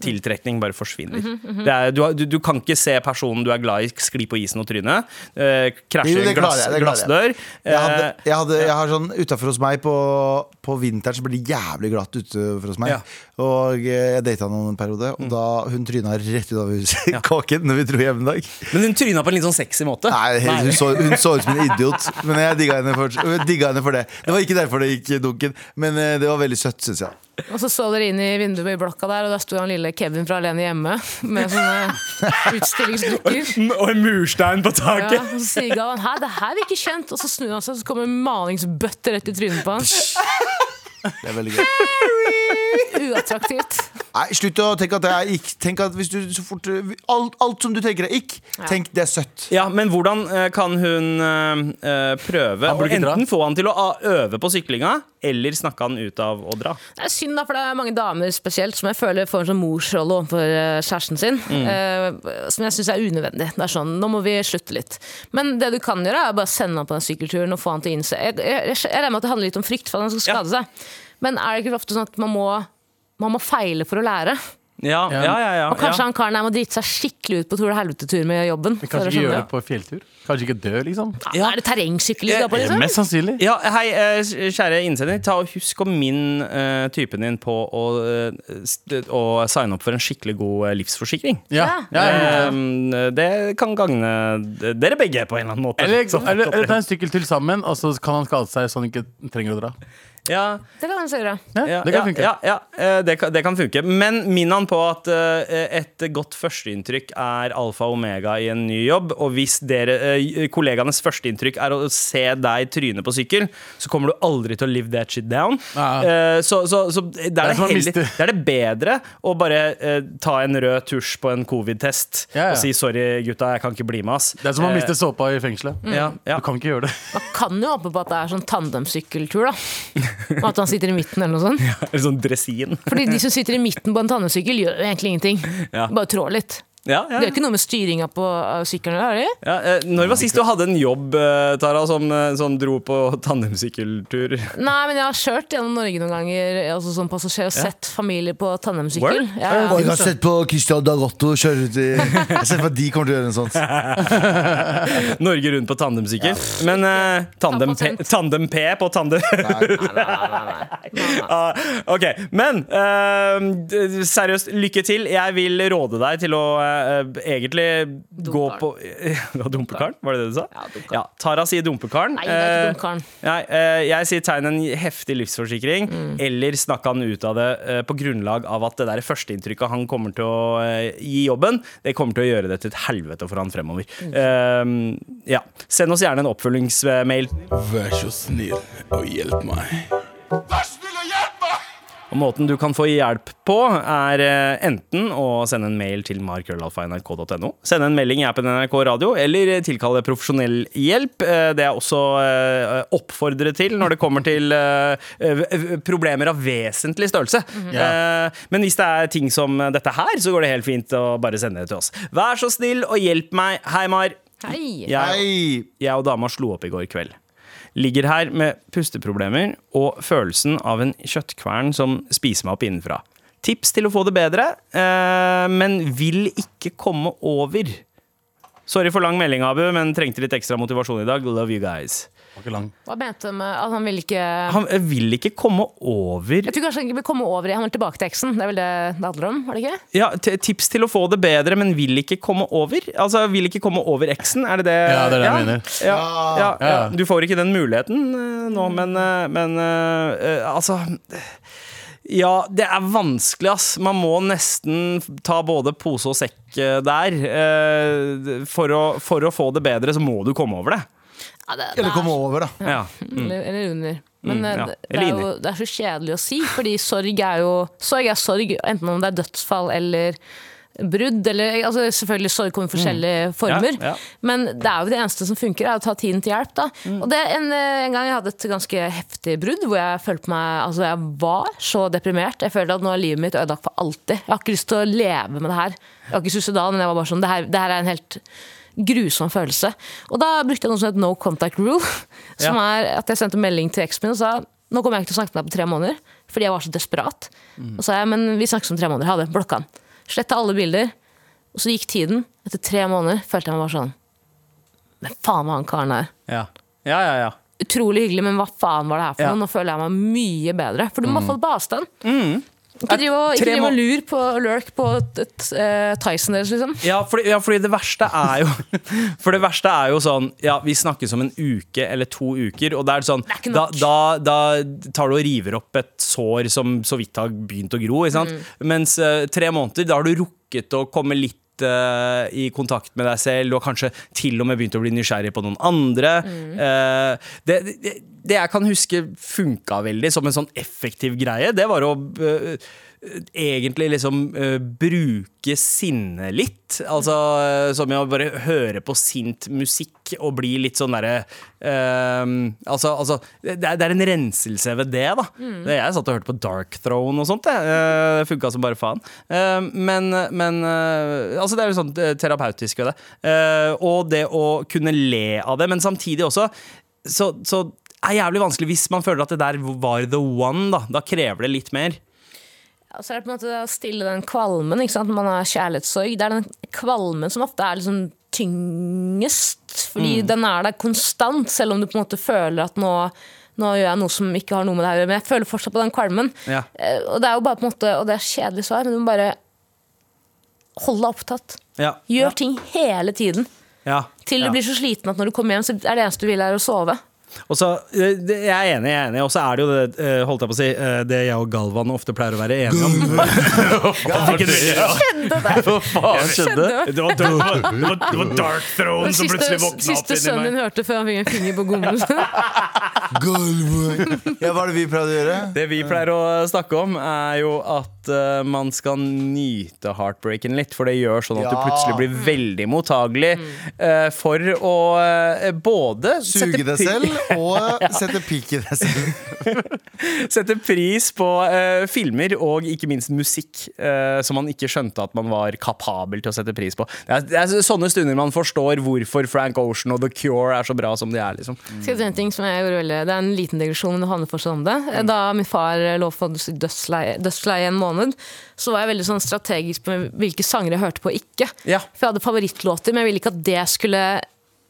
B: tiltrekning bare forsvinner. det er, du, har- du, du kan ikke se personen du er glad i, skli på isen og tryne. Eh, krasje
E: Jo,
B: i en
E: det klarer
B: glass,
E: jeg, det klarer
B: glassdør.
E: Jeg, hadde,
B: Eh,
E: jeg, hadde, jeg har sånn Utafor hos meg på, på vinteren så blir det jævlig glatt utenfor hos meg.
B: Ja.
E: Og eh, jeg data noen en periode, og da hun tryna rett ut av huset (laughs) kåken når vi dro hjem en dag.
B: men hun tryna på en litt sånn sexy måte.
E: Nei, hun så, hun så ut som en idiot, men jeg digga henne, for- jeg digga henne for det. Det var ikke derfor det gikk dunken, men eh, det var veldig søtt, syns jeg.
F: Og så så dere inn i vinduet i blokka der, og der sto han lille Kevin fra Alene hjemme
B: (laughs)
F: med sånne utstillingsdukker.
B: Og en murstein på taket.
F: Ja, og så sier Gavan Hæ, det her virker kjent. Og så snur han seg, og så kommer en malingsbøtte rett i trynet på han.
E: Det er veldig gøy.
F: Uattraktivt.
E: Nei, slutt å tenke at det er ikk. Tenk at hvis du så fort eh, Alt, alt som du tenker er ikk, tenk det er søtt.
B: Ja, men hvordan eh, kan hun eh, eh, prøve å
D: burde ikke dra.
B: enten få han til å a- øve på syklinga, eller snakke han ut av å dra?
F: Det er synd, da, for det er mange damer spesielt som jeg føler får en sånn morsrolle overfor eh, kjæresten sin. eh, som jeg syns er unødvendig. Det er sånn, nå må vi slutte litt. Men det du kan gjøre, er bare sende han på den sykkelturen og få han til å innse Jeg, jeg, jeg regner med at det handler litt om frykt for at han skal skade seg. Men er det ikke ofte sånn at man må, man må feile for å lære?
B: Ja, ja, ja, ja,
F: Og kanskje
B: ja.
F: han karen her må drite seg skikkelig ut på Tour de Helvete-tur med jobben. for
D: Kanskje
F: å
D: ikke
F: skjønne
D: gjøre det sånn, på fjelltur? Kanskje ikke dø, liksom?
F: Ja, Er det terrengsykkel du skal på, liksom?
D: Mest sannsynlig.
B: Ja, hei, eh, kjære innsender. Ta og Husk å minne eh, typen din på å, eh, st- å signe opp for en skikkelig god eh, livsforsikring.
D: Ja. Ja, ja, ja.
B: Eh, det kan gagne d- dere begge på en eller annen måte.
D: Eller, eller, eller ta en sykkel til sammen, og så kan han skade seg så han ikke trenger å dra.
B: Ja,
F: Det kan kanskje gjøre.
D: Ja,
B: ja,
D: det kan
B: ja,
D: funke.
B: Ja, ja, eh, det, kan, det kan funke. Men minn han på at eh, et godt førsteinntrykk er alfa og omega i en ny jobb. Og hvis dere, eh, kollegaenes førsteinntrykk er å se deg tryne på sykkel, så kommer du aldri til å live that shit down.
D: Ja.
B: Eh, så så, så det, er det,
D: som å
B: heller,
D: miste-
B: det er det bedre å bare eh, ta en rød tusj på en covid-test
D: Ja, ja.
B: og si 'sorry, gutta, jeg kan ikke bli med', ass.
D: Det er som å
B: Eh,
D: miste såpa i fengselet.
B: ja, ja.
D: Du kan ikke gjøre det.
F: Man kan jo håpe på at det er sånn tandemsykkeltur, da. Og at han sitter i midten eller noe sånt.
B: (laughs) Eller sånn dresin.
F: Fordi de som sitter i midten på en tandemsykkel, gjør jo egentlig ingenting.
B: (laughs) Ja.
F: Bare trår litt.
B: Ja, ja.
F: Det er jo ikke noe med styringa på uh, sykkelen, har de?
B: Ja, eh, når var sist du hadde en jobb, eh, Tara, som, eh, som dro på tandemsykkeltur?
F: Nei, men jeg har kjørt gjennom Norge noen ganger altså som passasjer og sett familier på tandemsykkel.
B: Word?
F: Ja,
E: Og jeg
F: ja.
E: har sett på Christian Darotto kjøre ut i (laughs) Jeg har sett på at de kommer til å gjøre en sånn.
B: Norge rundt på tandemsykkel. Men eh, tandem, P, tandem P på tandem (laughs) Ah, Ok, men eh, d- seriøst, lykke til. Jeg vil råde deg til å eh, egentlig gå på (laughs) Ja, Dumpekaren, var det det du sa?
F: Ja, dumpekaren.
B: Ja, Tara sier dumpekaren.
F: Nei, det er ikke
B: Eh,
F: dumpekaren.
B: Nei, eh, jeg sier tegn en heftig livsforsikring,
F: Mm.
B: eller snakk han ut av det eh, på grunnlag av at det der førsteinntrykket han kommer til å eh, gi jobben, det kommer til å gjøre det til et helvete for han fremover.
F: Mm.
B: Eh, ja. Send oss gjerne en oppfølgingsmail.
I: Vær så snill og hjelp meg.
B: Og måten du kan få hjelp på, er eh, enten å sende en mail til markrøllalfa.nrk.no, sende en melding i appen NRK Radio, eller tilkalle profesjonell hjelp. Eh, Det er også eh, oppfordret til når det kommer til eh, eh, problemer av vesentlig størrelse. Eh, Men hvis det er ting som dette her, så går det helt fint å bare sende det til oss. Vær så snill og hjelp meg. Hei, Mar.
F: Hei.
B: Jeg,
E: Hei!
B: jeg og dama slo opp i går kveld. Ligger her med pusteproblemer og følelsen av en kjøttkvern som spiser meg opp innenfra. Tips til å få det bedre, eh, men vil ikke komme over. Sorry for lang melding, Abu, men trengte litt ekstra motivasjon i dag. Love you guys.
F: Hva mente du med at han ville ikke
B: Han eh, vil ikke komme over
F: Jeg tror kanskje han ikke vil komme over i Han vil tilbake til eksen. Det er vel det det handler om? er det ikke?
B: Ja, t tips til å få det bedre, men vil ikke komme over? Altså, vil ikke komme over eksen, er det det
D: Ja, det er det jeg mener.
B: Ja, ja, ja.
D: Ja.
B: Du får ikke den muligheten eh, nå, men, eh, men eh, eh, altså ja, det er vanskelig, ass. Man må nesten ta både pose og sekk eh, der. Eh, For å, for å få det bedre, så må du komme over det.
F: Ja, det, det
E: Eller
F: er
E: komme over, da.
B: Ja.
F: Eller, eller under. Men
B: Mm,
F: eh,
B: ja.
F: det, det,
B: Eller
F: er
B: inni.
F: jo, det er så kjedelig å si, fordi sorg er jo sorg, er sorg enten om det er dødsfall eller brudd. Eller, altså, selvfølgelig sorg kommer i forskjellige former,
B: Mm. ja.
F: men det er jo det eneste som funker, er å ta tiden til hjelp. Da. Og det, en, eh, en gang jeg hadde et ganske heftig brudd, hvor jeg følte meg Altså, jeg var så deprimert. Jeg følte at nå er livet mitt ødelagt for alltid. Jeg har ikke lyst til å leve med det her. Jeg var ikke suicidal, men jeg var bare sånn Det her, det her er en helt grusom følelse. Og da brukte jeg noe som het no contact rule. Som er at jeg sendte melding til eksen min og sa nå kommer jeg ikke til å snakke med deg på tre måneder. Fordi jeg var så desperat. Og så sa jeg, men vi snakkes om tre måneder. Ha det. Blokka han. Sletta alle bilder. Og så gikk tiden. Etter tre måneder følte jeg meg bare sånn Men faen hva han karen er.
B: Ja, ja, ja. ja.
F: Utrolig hyggelig, men hva faen var det her for
B: Ja. Mm.
F: noe? Nå føler jeg meg mye bedre. For du må ha fått på avstand. Ikke drive og,
B: Tre
F: ikke drive
B: må-
F: og lur på lurk på et, et, eh, Tyson deres, liksom.
B: Ja fordi, ja, fordi det verste er jo (laughs) For det verste er jo sånn Ja, vi snakkes om en uke eller to uker, og det er sånn
F: Det er ikke
B: da,
F: nok.
B: da, da tar du og river opp et sår som så vidt har begynt å gro, ikke sant?
F: Mm.
B: Mens eh, tre måneder, da har du rukket å komme litt eh, i kontakt med deg selv, du har kanskje til og med begynt å bli nysgjerrig på noen andre.
F: Mm.
B: Eh, det, det, det jeg kan huske funka veldig som en sånn effektiv greie, det var å eh, egentlig liksom eh, bruke sinnet litt. Altså eh, som i å bare høre på sint musikk og bli litt sånn derre eh, altså, altså det, er, det er en renselse ved det, da. Det- Jeg satt og hørte på Dark Throne og sånt, jeg. Eh, Det funka som bare faen. Eh, men men eh, altså det er jo sånn eh, terapeutisk ved det. Eh, og det å kunne le av det, men samtidig også så, så er jævlig vanskelig hvis man føler at det der var the one, da. Da krever det litt mer.
F: Ja, Så er det på en måte å stille den kvalmen ikke sant? når man har kjærlighetssorg. Det er den kvalmen som ofte er liksom tyngest, fordi
B: Mm.
F: den er der konstant, selv om du på en måte føler at nå, nå gjør jeg noe som ikke har noe med det her å gjøre. Men jeg føler fortsatt på den kvalmen.
B: Ja.
F: Eh, Og det er jo bare på en måte, og det er kjedelig svar, men du må bare holde deg opptatt.
B: Ja.
F: Gjør ting hele tiden.
B: Ja.
F: Til du
B: ja.
F: (laughs) blir så sliten at når du kommer hjem, så er det eneste du vil, er å sove.
B: Og så, eh, det- Jeg er enig, jeg er enig. Og så er det jo det eh, holdt jeg på å si, eh, det jeg og Galvan ofte pleier å være enige om. (laughs)
D: Hva faen skjedde?
H: Det var, det var, det var, det var Dark Throne
F: Den
H: som
F: siste,
H: plutselig våkna opp
F: siste sønnen
H: inni
F: din
H: meg.
F: hørte før han fikk en finger på (laughs) gommelen.
E: Gulvet. Ja, hva er det vi prøvde å gjøre?
B: Det vi pleier å snakke om, er jo at eh, man skal nyte heartbreaken litt. For det gjør sånn at du
E: Ja.
B: plutselig blir
F: Mm.
B: veldig mottagelig eh, for å eh, både
E: Suge
B: sette
E: deg
B: pri-
E: selv
B: (laughs)
E: og sette pikk i deg selv.
B: Setter pris på eh, filmer og ikke minst musikk eh, som man ikke skjønte at man var kapabel til å sette pris på. Det er, det er sånne stunder man forstår hvorfor Frank Ocean og The Cure er så bra som de er. liksom
F: Skal jeg si en ting som jeg gjorde veldig Det er en liten digresjon, men det handler fortsatt om det.
H: Mm.
F: Da min far lå for dødsleie, dødsleie en måned, så var jeg veldig sånn strategisk på hvilke sanger jeg hørte på og ikke.
B: Ja.
F: For jeg hadde favorittlåter, men jeg ville ikke at det skulle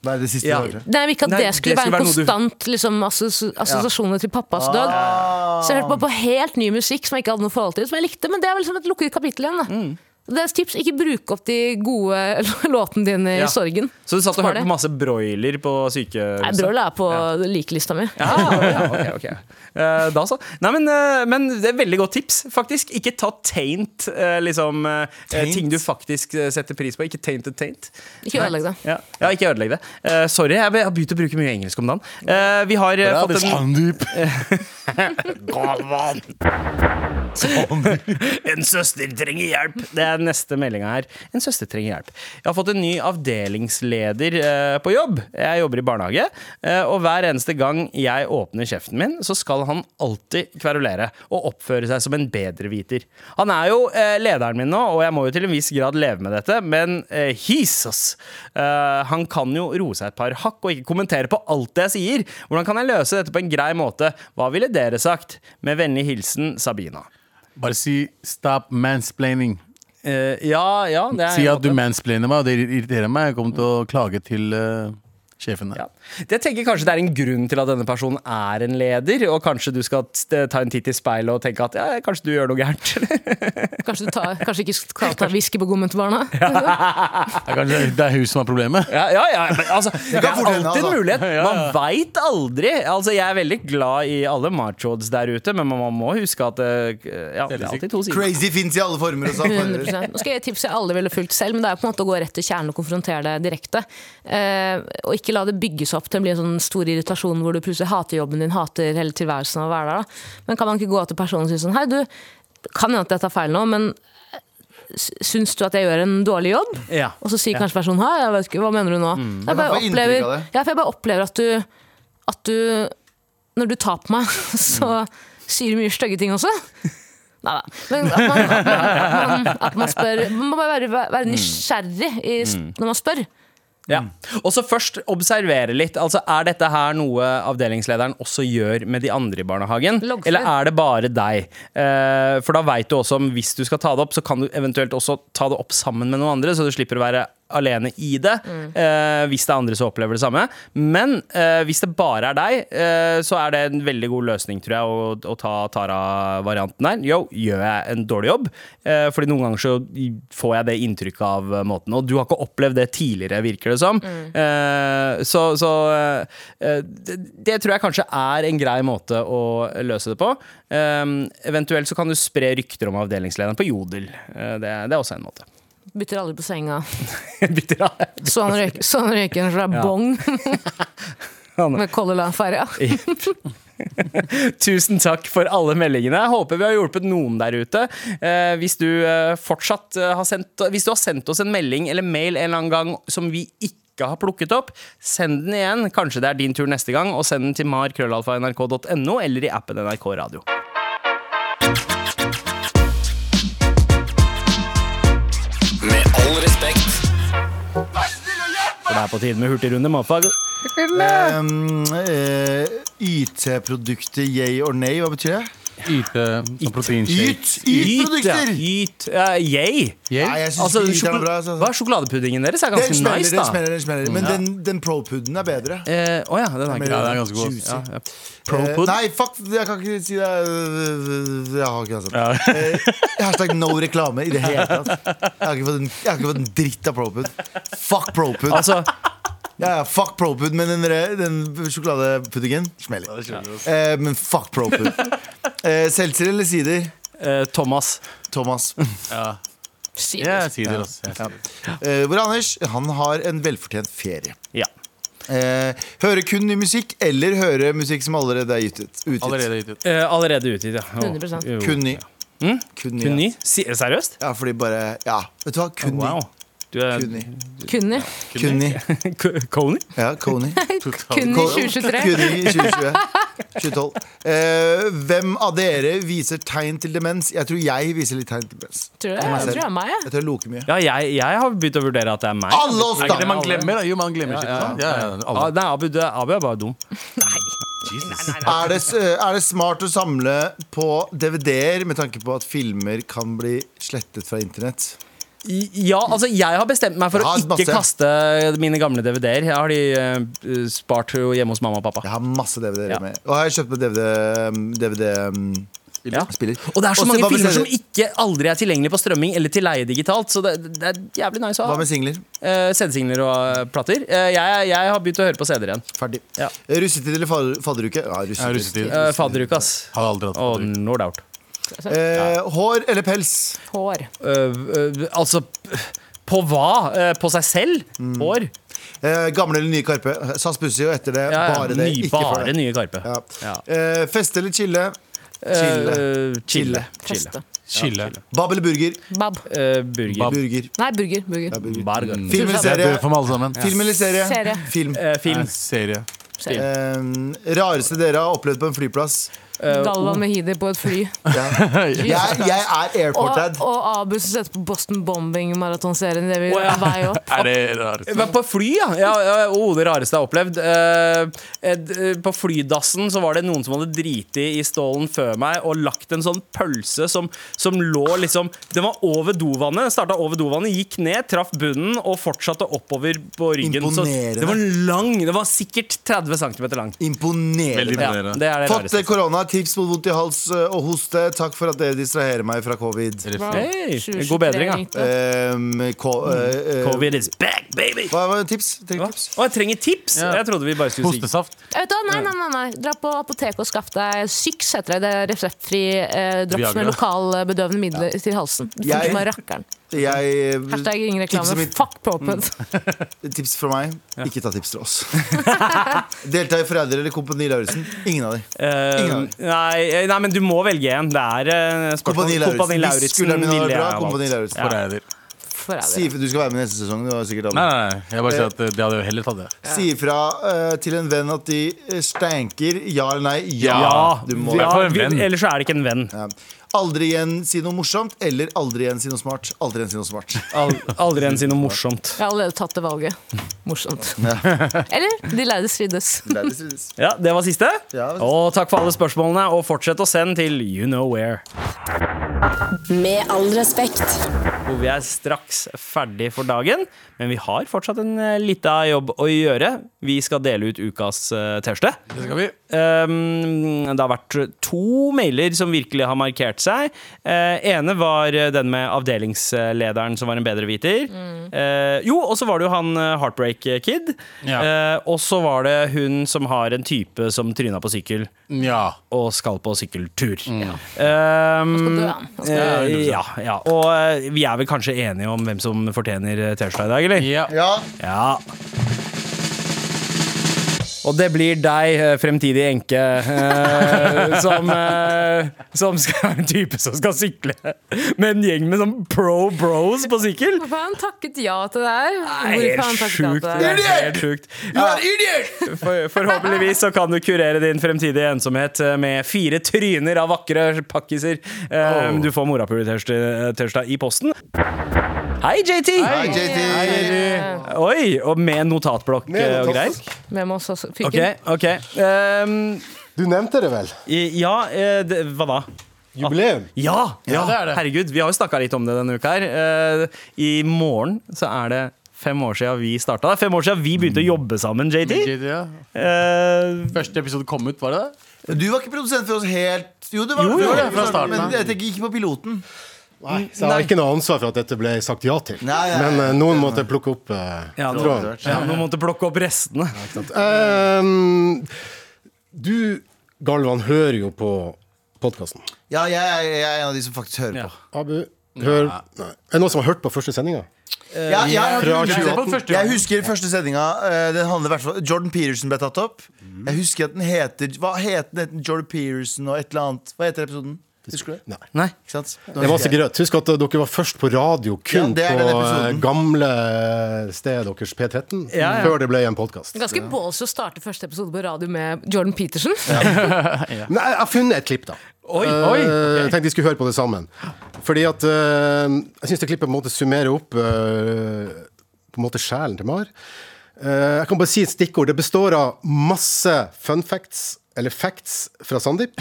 E: Hva er det siste
B: Ja.
E: du hørte?
F: Nei, jeg ville ikke at
B: Nei,
F: det skulle
B: det skulle
F: være en
B: være noe du-
F: konstant liksom, assos- assosiasjoner til pappas død.
B: Ah.
F: Så jeg hørte bare på helt ny musikk som jeg ikke hadde noe forhold til, som jeg likte, men det er vel som et lukket kapittel igjen. Da.
B: Mm.
F: Det er et tips, Ikke bruk opp de gode (laughs) låtene dine
B: Ja.
F: i sorgen.
B: Så du satt og
F: Spar
B: hørte
F: det.
B: på masse broiler på
F: Nei,
B: sykehuset?
F: Brøl er på likelista mi.
B: Ja, ja, ok, ok. Eh, da så. Nei, men, eh, men det er veldig godt tips, faktisk. Ikke ta taint, eh, liksom. eh,
E: Taint?
B: Ting du faktisk eh, setter pris på. Ikke taint and taint.
F: Ikke ødelegg det.
B: Ja, ja ikke ødelegg det. Eh, sorry, jeg har begynt å bruke mye engelsk om dagen. Eh, vi har eh,
E: Ja, det
B: fått
E: er
B: en
E: Sandeep.
B: En søster trenger hjelp! Det er neste meldinga her. En søster trenger hjelp. Jeg har fått en ny avdelingsleder eh, på jobb. Jeg jobber i barnehage, eh, og hver eneste gang jeg åpner kjeften min, så skal han alltid kverulere og oppføre seg som en bedreviter. Han er jo eh, lederen min nå, og jeg må jo til en viss grad leve med dette, men eh, Jesus! Eh, han kan jo roe seg et par hakk og ikke kommentere på alt jeg sier. Hvordan kan jeg løse dette på en grei måte? Hva ville dere sagt? Med vennlig hilsen Sabina.
D: Bare si 'stop mansplaining'.
B: Eh, ja, ja, det er
D: Si
B: en
D: at du
B: måte.
D: mansplainer meg, og det irriterer meg. Jeg kommer til å klage til eh, sjefen
B: ja.
D: der.
B: Jeg tenker kanskje det er en grunn til at denne personen er en leder, og kanskje du skal t- eh, ta en titt i speilet og tenke at ja, kanskje du gjør noe gærent.
F: Kanskje, du tar, kanskje ikke skal ta whisky på gommen til barna?
B: (laughs)
D: Det er Kanskje det er hun som er (laughs) problemet.
B: (laughs) ja, ja, ja, men altså, det er
E: kan fort
B: alltid en
E: hende, altså.
B: (laughs) mulighet. Man veit aldri. Altså, jeg er veldig glad i alle machods der ute, men man man må huske at eh, ja, det er alltid to sider.
E: Crazy fins i alle former. Og sånn.
F: 100%. Nå skal jeg gi et tips jeg aldri ville fulgt selv, men det er på en måte å gå rett til kjernen og konfrontere det direkte. Eh, og ikke la det bygges opp til å bli en sånn stor irritasjon hvor du plutselig hater jobben din, hater hele tilværelsen av å være der. Da. Men kan man ikke gå til personen og si sånn Hei, du, kan hende at jeg tar feil nå, men eh, s- syns du at jeg gjør en dårlig jobb?
B: Ja.
F: Og så sier kanskje personen Hei, jeg vet ikke, hva mener du nå? Jeg,
E: Mm. Man
F: bare
E: får inntrykk
F: opplever,
E: av det.
F: ja, for jeg bare opplever at du, at du Når du tar på meg, (laughs) så
E: Mm.
F: sier du mye stygge ting også. Nei da. Men at man, at man, at man, at man spør Man må bare være, være
E: Mm.
F: nysgjerrig i, s- når man spør.
B: Ja. Og så først observere litt. Altså, Er dette her noe avdelingslederen også gjør med de andre i barnehagen?
F: Loggfør.
B: Eller er det bare deg? Eh, for da veit du også om hvis du skal ta det opp, så kan du eventuelt også ta det opp sammen med noen andre, så du slipper å være alene i det. Eh, hvis det er andre som opplever det samme. Men eh, hvis det bare er deg, eh, så er det en veldig god løsning, tror jeg, å, å ta Tara-varianten der. Yo, gjør jeg en dårlig jobb? Eh, fordi noen ganger så får jeg det inntrykket av eh, måten. Og du har ikke opplevd det tidligere, virker det som. Eh, så så eh, det, det tror jeg kanskje er en grei måte å løse det på. Eh, eventuelt så kan du spre rykter om avdelingslederen på Jodel. Eh, det, det er også en måte.
F: Bytter aldri på senga.
B: Bytter av.
F: Så han røyker så han røyker en rabong
E: (laughs)
F: med Color Line-ferja.
B: Tusen takk for alle meldingene. Jeg håper vi har hjulpet noen der ute. Eh, hvis du eh, fortsatt eh, har sendt Hvis du har sendt oss en melding eller mail en eller annen gang som vi ikke har plukket opp, send den igjen. Kanskje det er din tur neste gang, og send den til mar.krøllalfa.nrk.no eller i appen NRK Radio.
G: Med all respekt.
B: For det er på tide med hurtigrunde, motherfucker.
E: Um, eh, YT-produktet yay or nay, hva betyr det?
D: Yte eh, som proteinshake.
E: Yt! Yt-produkter!
B: Yt. Uh, yay.
E: Nei, jeg synes
B: Altså,
E: ikke yt er
B: sjokol
E: noe bra.
B: Hva
E: Altså.
B: er sjokoladepuddingen deres? Er
E: Den
B: ganske
E: smeller,
B: nice,
E: den
B: da.
E: smeller, den smeller. Men den, den pro-puden er bedre.
B: Å eh, å ja, den er ikke
E: Ja,
D: den er ganske god.
E: Juicy.
B: ja, ja.
E: Eh,
B: Pro-pud?
E: nei, fuck, jeg kan ikke si det. Jeg har ikke altså. Eh, Hashtag no reklame i det hele tatt. Jeg har ikke fått en, jeg har ikke fått en dritt av propud. Fuck propud.
B: (laughs) Altså,
E: Ja, ja, fuck propud, men den, der- den sjokoladepuddingen smeller. Eh, men fuck propud. Eh, Seltzer eller sider?
B: Eh, Thomas.
E: Thomas.
F: Sykt.
D: Jeg sier det, altså. Jeg sier det.
E: Eh, hvor Anders han har en velfortjent ferie.
B: Ja.
E: Eh, høre kun ny musikk, eller høre musikk som allerede er gitt ut. utgitt.
D: Allerede gitt ut.
B: Eh, allerede utgitt, ja.
F: 100%.
B: Jo.
E: Kun ny. Kun ny.
B: Mm? Kun
E: ja.
B: ny? Si- Seriøst?
E: Ja, fordi bare Ja, vet du hva? Kun ny.
B: Wow. Du er
E: Kun ny.
F: Kunni.
E: Kun ny.
B: (laughs) K- Coney?
E: Ja,
F: (laughs)
E: Kony.
F: Kunni
E: Ko-
F: 2023.
E: Kunni 2020. 2012. Eh, hvem av dere viser tegn til demens? Jeg tror jeg viser litt tegn til demens.
F: Tror du det? Jeg tror det er meg, jeg.
E: Jeg tror jeg loker mye.
B: Ja, jeg, jeg har begynt å vurdere at det er meg.
E: Alle oss,
D: Er
E: da!
D: ikke det man glemmer? da? Jo, man glemmer shit. sant? Ja, ja, ja.
B: Ah, nei, Abu, du, er- Abu er bare dum.
E: Er det, eh, er det smart å samle på DVD-er med tanke på at filmer kan bli slettet fra internett?
B: I- Ja, altså Jeg har bestemt meg for
E: Jeg
B: å
E: har
B: ikke
E: masse.
B: kaste mine gamle DVD-er. Jeg har de eh, spart jo hjemme hos mamma og pappa.
E: Jeg har masse DVD-er
B: Ja.
E: med. Og jeg har kjøpt meg mm, DVD-spiller.
B: Ja. Og det er så mange filmer som
E: ikke
B: ikke aldri er tilgjengelige på strømming eller til leie digitalt. Så det, det er jævlig nice å
E: Hva
B: ha
E: med singler?
B: eh, CD-signaler og eh, plater. Eh, jeg, jeg har begynt å høre på CD-er igjen.
E: Ferdig. Eh,
B: Ja.
E: Russetid eller fadder- fadderuke? Ja,
D: Ja,
E: russetid.
D: russetid.
B: Uh, Fadderuke, ass.
D: Har aldri hatt
B: Og
D: fadderuke.
B: no doubt.
E: Eh, hår eller pels?
F: Hår.
B: Eh, eh, altså p- På hva? Eh, på seg selv?
E: Mm.
B: Hår?
E: Eh, gamle eller nye Karpe? SAS Bussi og etter det.
B: Ja, ja,
E: bare det.
B: ny,
E: Ikke for
B: bare
E: det.
B: nye Karpe.
E: Ja.
B: Ja.
E: Eh, feste eller chille?
B: Eh,
E: Chille.
B: chille.
F: Feste.
D: Chille.
E: Bab eller burger?
F: Bab.
B: Eh, burger.
E: Burger.
F: Nei, burger. burger.
E: Ja, burger.
B: Burger.
E: Film eller
D: Det er død
E: serie?
D: for meg alle sammen.
E: Film eller serie?
F: Serie.
E: Film.
B: Eh, film.
D: Nei, Serie.
E: Eh, rareste dere har opplevd på en flyplass?
B: Eh,
F: Galva Mehidi på et
B: (laughs)
F: fly.
E: (laughs) Jeg, jeg er
F: Og,
E: airportad.
F: og Abu som setter på Boston Bombing-maratonserien. Det vi
B: Å, ja.
F: er vei opp.
D: Er det rart?
B: Men På fly, ja. ja, ja oh, det rareste jeg har opplevd. Eh, et, eh, på flydassen så var det noen som hadde driti i stålen før meg og lagt en sånn pølse som, som lå liksom Den var over dovannet. Starta over dovannet, gikk ned, traff bunnen og fortsatte oppover på ryggen. Så
E: Imponerende.
B: det var lang. Det var sikkert 30 cm lang. Ja,
E: Imponerende.
D: Imponerende.
B: det er det
E: Fått
B: rareste.
E: korona, tips mot vondt i hals eh, og hoste. Takk for at dere distraherer meg fra covid.
F: Wow.
B: (laughs) Hey,
F: 2023
B: god bedring, ja.
F: ringte.
D: Mm.
E: Ehm, ko- eh, eh,
B: Covid is back, baby!
E: Hva var tips? Tenk
B: Hva?
E: tips.
B: Å, jeg trenger tips!
D: Ja.
B: Jeg trodde vi bare skulle si
D: Hostesaft.
F: Vet du hva? Nei, nei, nei, nei. Dra på apoteket og skaff deg Syx, heter det. Det er reseptfri eh, drops
D: Viagra.
F: med lokalbedøvende midler til halsen. Du
E: Jeg-
F: får ikke meg rakkeren.
E: Jeg,
F: Hashtag ingen
E: tipset
F: reklame.
E: mitt- Mm.
F: Fuck proped. (laughs)
E: tips fra meg. Ikke ta tips til oss. Delta i Forræder eller Kompani Lauritzen. Ingen av dem.
B: Eh,
E: Ingen.
B: nei, nei, men du må velge en. Det er eh, spørsmål.
E: Kompani
B: Kompani
E: Lauritzen. Hvis
B: Lauritzen
E: skulderen min hadde
B: ville
E: vært
B: jeg
E: bra,
B: ha
E: Kompani
B: valgt.
E: Lauritzen.
D: Forræder.
E: Si ifra- Du skal være med neste sesong. Du har sikkert
D: Nei,
E: alle.
D: nei, nei. Jeg bare sier at eh, det hadde jeg heller tatt, det.
E: Si ifra eh, til en venn at de eh, stanker. Ja eller nei? Ja.
B: Ja,
E: Du må.
B: ja
D: Jeg får en
B: vi-
D: venn.
B: ellers så er det ikke en venn.
E: Ja. Aldri igjen si noe morsomt, eller aldri igjen si noe smart. Aldri igjen si noe smart.
B: Al aldri en si
E: (laughs)
B: noe morsomt.
F: Jeg har allerede tatt det valget. Morsomt. (laughs) Eller De lærde strides.
B: Ja, Det var siste.
E: Ja, det var siste.
B: Og takk for alle spørsmålene, og fortsett å sende til you know where.
A: Med all respekt.
B: Hvor vi er straks ferdig for dagen, men vi har fortsatt en eh, lita jobb å gjøre. Vi skal dele ut ukas uh, T-skjorte.
D: Det skal vi.
B: Um, det har vært to mailer som virkelig har markert seg. Eh, ene var eh, den med avdelingslederen som var en bedreviter.
F: Mm.
B: Eh, jo, og så var det jo han eh, Heartbreak Kid.
D: Ja.
B: Eh, og så var det hun som har en type som tryna på sykkel
D: Ja.
B: og skal på sykkeltur. Um,
F: skal dø, han. Han skal
B: eh, ja, ja. Og eh, vi er vel kanskje enige om hvem som fortjener eh, T-skjorta i dag, eller?
D: ja.
E: Ja,
B: Ja. Og det blir deg, eh, fremtidig enke, eh, (laughs) som, eh, som skal være en type som skal sykle med en gjeng med sånn pro bros på sykkel.
F: Hvorfor har han takket ja til det her?
B: Det er
F: Hvorfor har han
B: helt
F: takket ja
B: sjukt.
F: til
B: Det er
F: det her?
B: helt sjukt. Ja, for, forhåpentligvis så kan du kurere din fremtidige ensomhet eh, med fire tryner av vakre pakkiser. Eh, Du får morapuletørsdag i posten. Hei, JT!
E: Hei, JT.
B: Oi, og med notatblokk eh, og greier.
F: Med oss også. Fikk
B: Ok, ok Ehm,
J: Du nevnte det vel?
B: i- Ja, eh, det, hva da? Ah,
J: Jubileum.
B: Ja, ja,
D: det er det.
B: herregud, vi har jo snakket litt om det denne uka her Eh, I morgen så er det fem år siden vi startet Det er Fem år siden vi begynte å jobbe sammen, JT
D: Ja.
B: Eh,
D: Første episode kom ut, var det det?
E: Du var ikke produsent for oss helt Jo, det var
D: Jo,
E: det,
D: jo,
E: for
D: det var fra starten
E: Men
D: av.
E: jeg tenker ikke på piloten.
J: Nei, så jeg har ikke noe ansvar for at dette ble sagt ja til.
E: Nei, nei,
J: Men
E: nei.
J: eh, noen måtte plukke opp eh,
B: Ja,
J: tråden.
B: nå, ja, nå måtte plukke opp restene.
J: Ehm, du, Galvan, hører jo på podkasten.
E: Ja, jeg, jeg er en av de som faktisk hører
B: Ja.
E: på.
J: Abu, hør Nei. Er det noen som har hørt på første sendinga?
E: Ja, ja, ja,
J: Fra
E: jeg,
D: ser på den
J: 2018?
D: første
E: jeg
D: gang.
E: husker første sendinga. eh, Den handler i hvert fall Jordan Peterson ble tatt opp. Jeg husker at den heter Hva het den? Het den Jordan Peterson og et eller annet? Hva heter episoden? Husker du det?
J: Nei.
B: Nei.
E: Ikke sant?
J: Det var så greit. Husk at dere var først på radio kun
E: Ja, det er den
J: på eh,
E: episoden.
J: gamle stedet deres, P13,
B: Ja, ja.
J: før det ble en podkast.
F: Ganske ballsy å starte første episode på radio med Jordan Peterson.
J: Nei, jeg har funnet et klipp, da.
D: Oi,
J: Eh,
D: oi.
J: Jeg tenkte vi skulle høre på det sammen. Fordi at eh, Jeg syns det klippet på en måte summerer opp eh, På en måte sjelen til Mar. Eh, jeg kan bare si et stikkord. Det består av masse fun facts. Eller facts fra Sandeep.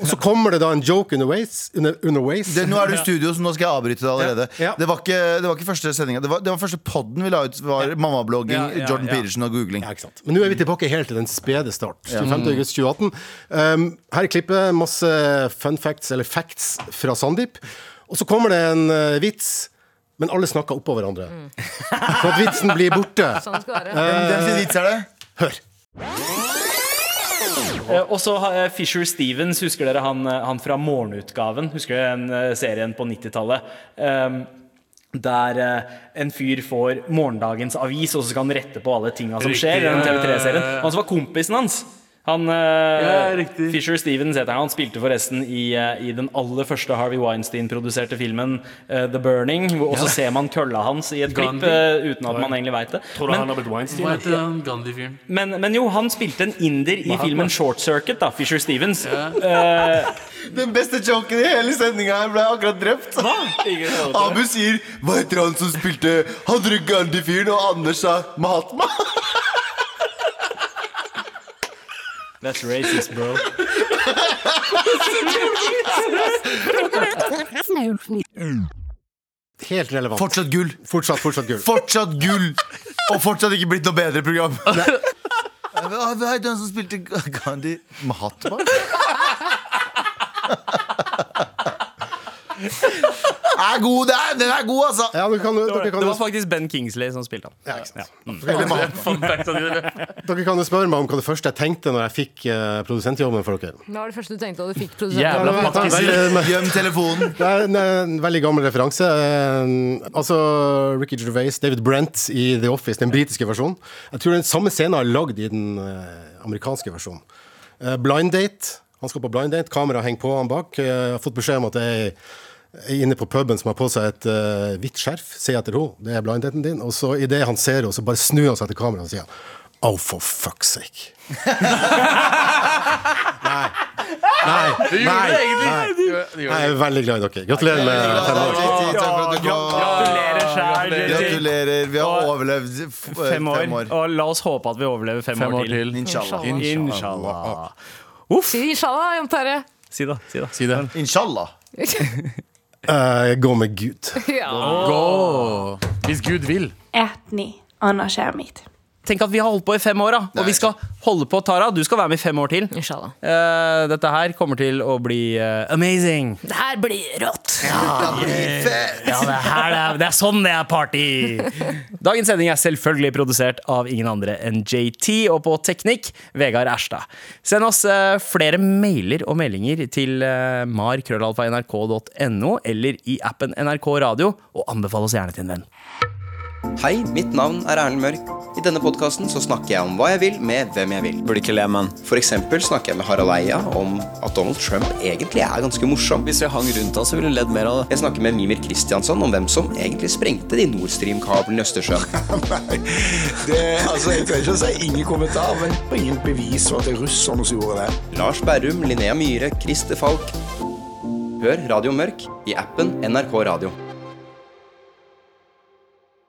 J: Og så kommer det da en joke underveis. Under, underveis.
E: Det, nå er du i studio, så nå skal jeg avbryte deg allerede.
J: Ja, ja.
E: Det, var ikke, det var ikke første sendinga. Det, var- det var første podden vi la ut, var mammablogging,
B: Ja, ja,
E: Jordan
B: ja.
E: Peterson og googling.
J: Ja, ikke sant. Men nå er vi tilbake helt til den spede start. 25. august 2018. Um, her er klippet. Masse fun facts, eller facts, fra Sandeep. Og så kommer det en eh, vits, men alle snakker oppå hverandre. (laughs) Så at vitsen blir borte.
F: Sånn skal det være.
E: Hvem sin vits er det?
J: Hør.
H: Eh, Og så eh, Fisher Stevens, husker dere han, eh, han fra Morgenutgaven? Husker dere den eh, serien på 90-tallet? Ehm, der eh, en fyr får morgendagens avis, og så skal han rette på alle tinga som skjer. i den TV3-serien Han som var kompisen hans. Han, eh, Fisher Stevens heter han. Han spilte forresten i, eh, i den aller første Harvey Weinstein-produserte filmen eh, The Burning. Hvor også ser man kølla hans i et
K: Gandhi.
H: klipp eh, uten at man egentlig veit det.
K: Tror du han har blitt Weinstein?
D: Hva heter den Gandhi-fyren?
H: Men, men jo, han spilte en inder i filmen Short Circuit, da, Fisher Stevens.
E: Den beste joken i hele sendinga her ble akkurat drept. Abu sier 'Hva heter han som spilte Hadre Gandhi-fyren?' Og Anders sa 'Mahatma'.
H: That's racist, bro.
J: Helt relevant.
E: Fortsatt gull.
J: fortsatt, fortsatt gull.
E: Fortsatt gull. Og fortsatt ikke blitt noe bedre program. Hva hva heter han som spilte Gandhi? Mahatma? Er god, det er, den er god, altså.
J: Ja, dere kan, dere, kan
B: Det
J: jo,
B: var faktisk Ben Kingsley som spilte han.
J: ja, ikke sant. Dere kan-
K: Fun fact av dine.
J: dere kan jo spørre meg om hva det første jeg tenkte når jeg fikk eh, produsentjobben for dere.
F: Hva var det første du tenkte da du fikk
J: Ja, eh,
F: produsenten?
J: det var- Veldig-
E: Gjem telefonen.
J: Det er en, en veldig gammel referanse. Eh, Altså Ricky Gervais, David Brent i The Office, den britiske versjonen. Jeg tror den samme scenen er lagd i den eh, amerikanske versjonen. Eh, blind date. Han skal på blind date, kameraet henger på han bak. Eh, Jeg har fått beskjed om at jeg er inne på puben som har på seg et eh, hvitt skjerf. Se etter henne, det er blind daten din. Og så idet han ser henne, så bare snur han seg til kameraet og sier Oh, for fuck's sake. Nei. Nei. Nei. Nei. Jeg er veldig glad i dere. Gratulerer med fem år.
E: Takk for at du kom.
B: Gratulerer sjæl.
E: Gratulerer. Vi har overlevd f- fem år.
B: Og la oss håpe at vi overlever fem,
D: Fem år til.
E: Inshallah.
B: Inshallah.
F: Si inshallah, Jan Terje.
B: Si det. Si det.
D: Si det.
E: Inshallah.
J: Eh, Gå med Gud.
F: Ja.
D: Gå! Hvis Gud vil.
L: Etni, anasjermit.
B: Tenk at vi har holdt på i fem år, da. Og vi skal holde på. Tara, du skal være med i fem år til.
F: Inshallah.
B: Eh, dette her kommer til å bli eh, amazing.
F: Det her blir rått!
B: Ja, det, er her, det, er, det er sånn det er party! Dagens sending er selvfølgelig produsert av ingen andre enn JT, og på teknikk Vegard Erstad. Send oss eh, flere mailer og meldinger til eh, mar.nrk.no eller i appen NRK Radio, og anbefal oss gjerne til en venn.
M: Hei, mitt navn er Erlend Mørk. I denne podkasten så snakker jeg om hva jeg vil med hvem jeg vil. Burde ikke le, men. For eksempel snakker jeg med Harald Eia om at Donald Trump egentlig er ganske morsom. Hvis vi hang rundt han, så ville hun ledd mer av det. Jeg snakker med Mimir Kristiansson om hvem som egentlig sprengte de Nord Stream-kablene i Østersjøen. Lars Berrum, Linnea Myhre, Christer Falk. Hør Radio Mørk i appen NRK Radio.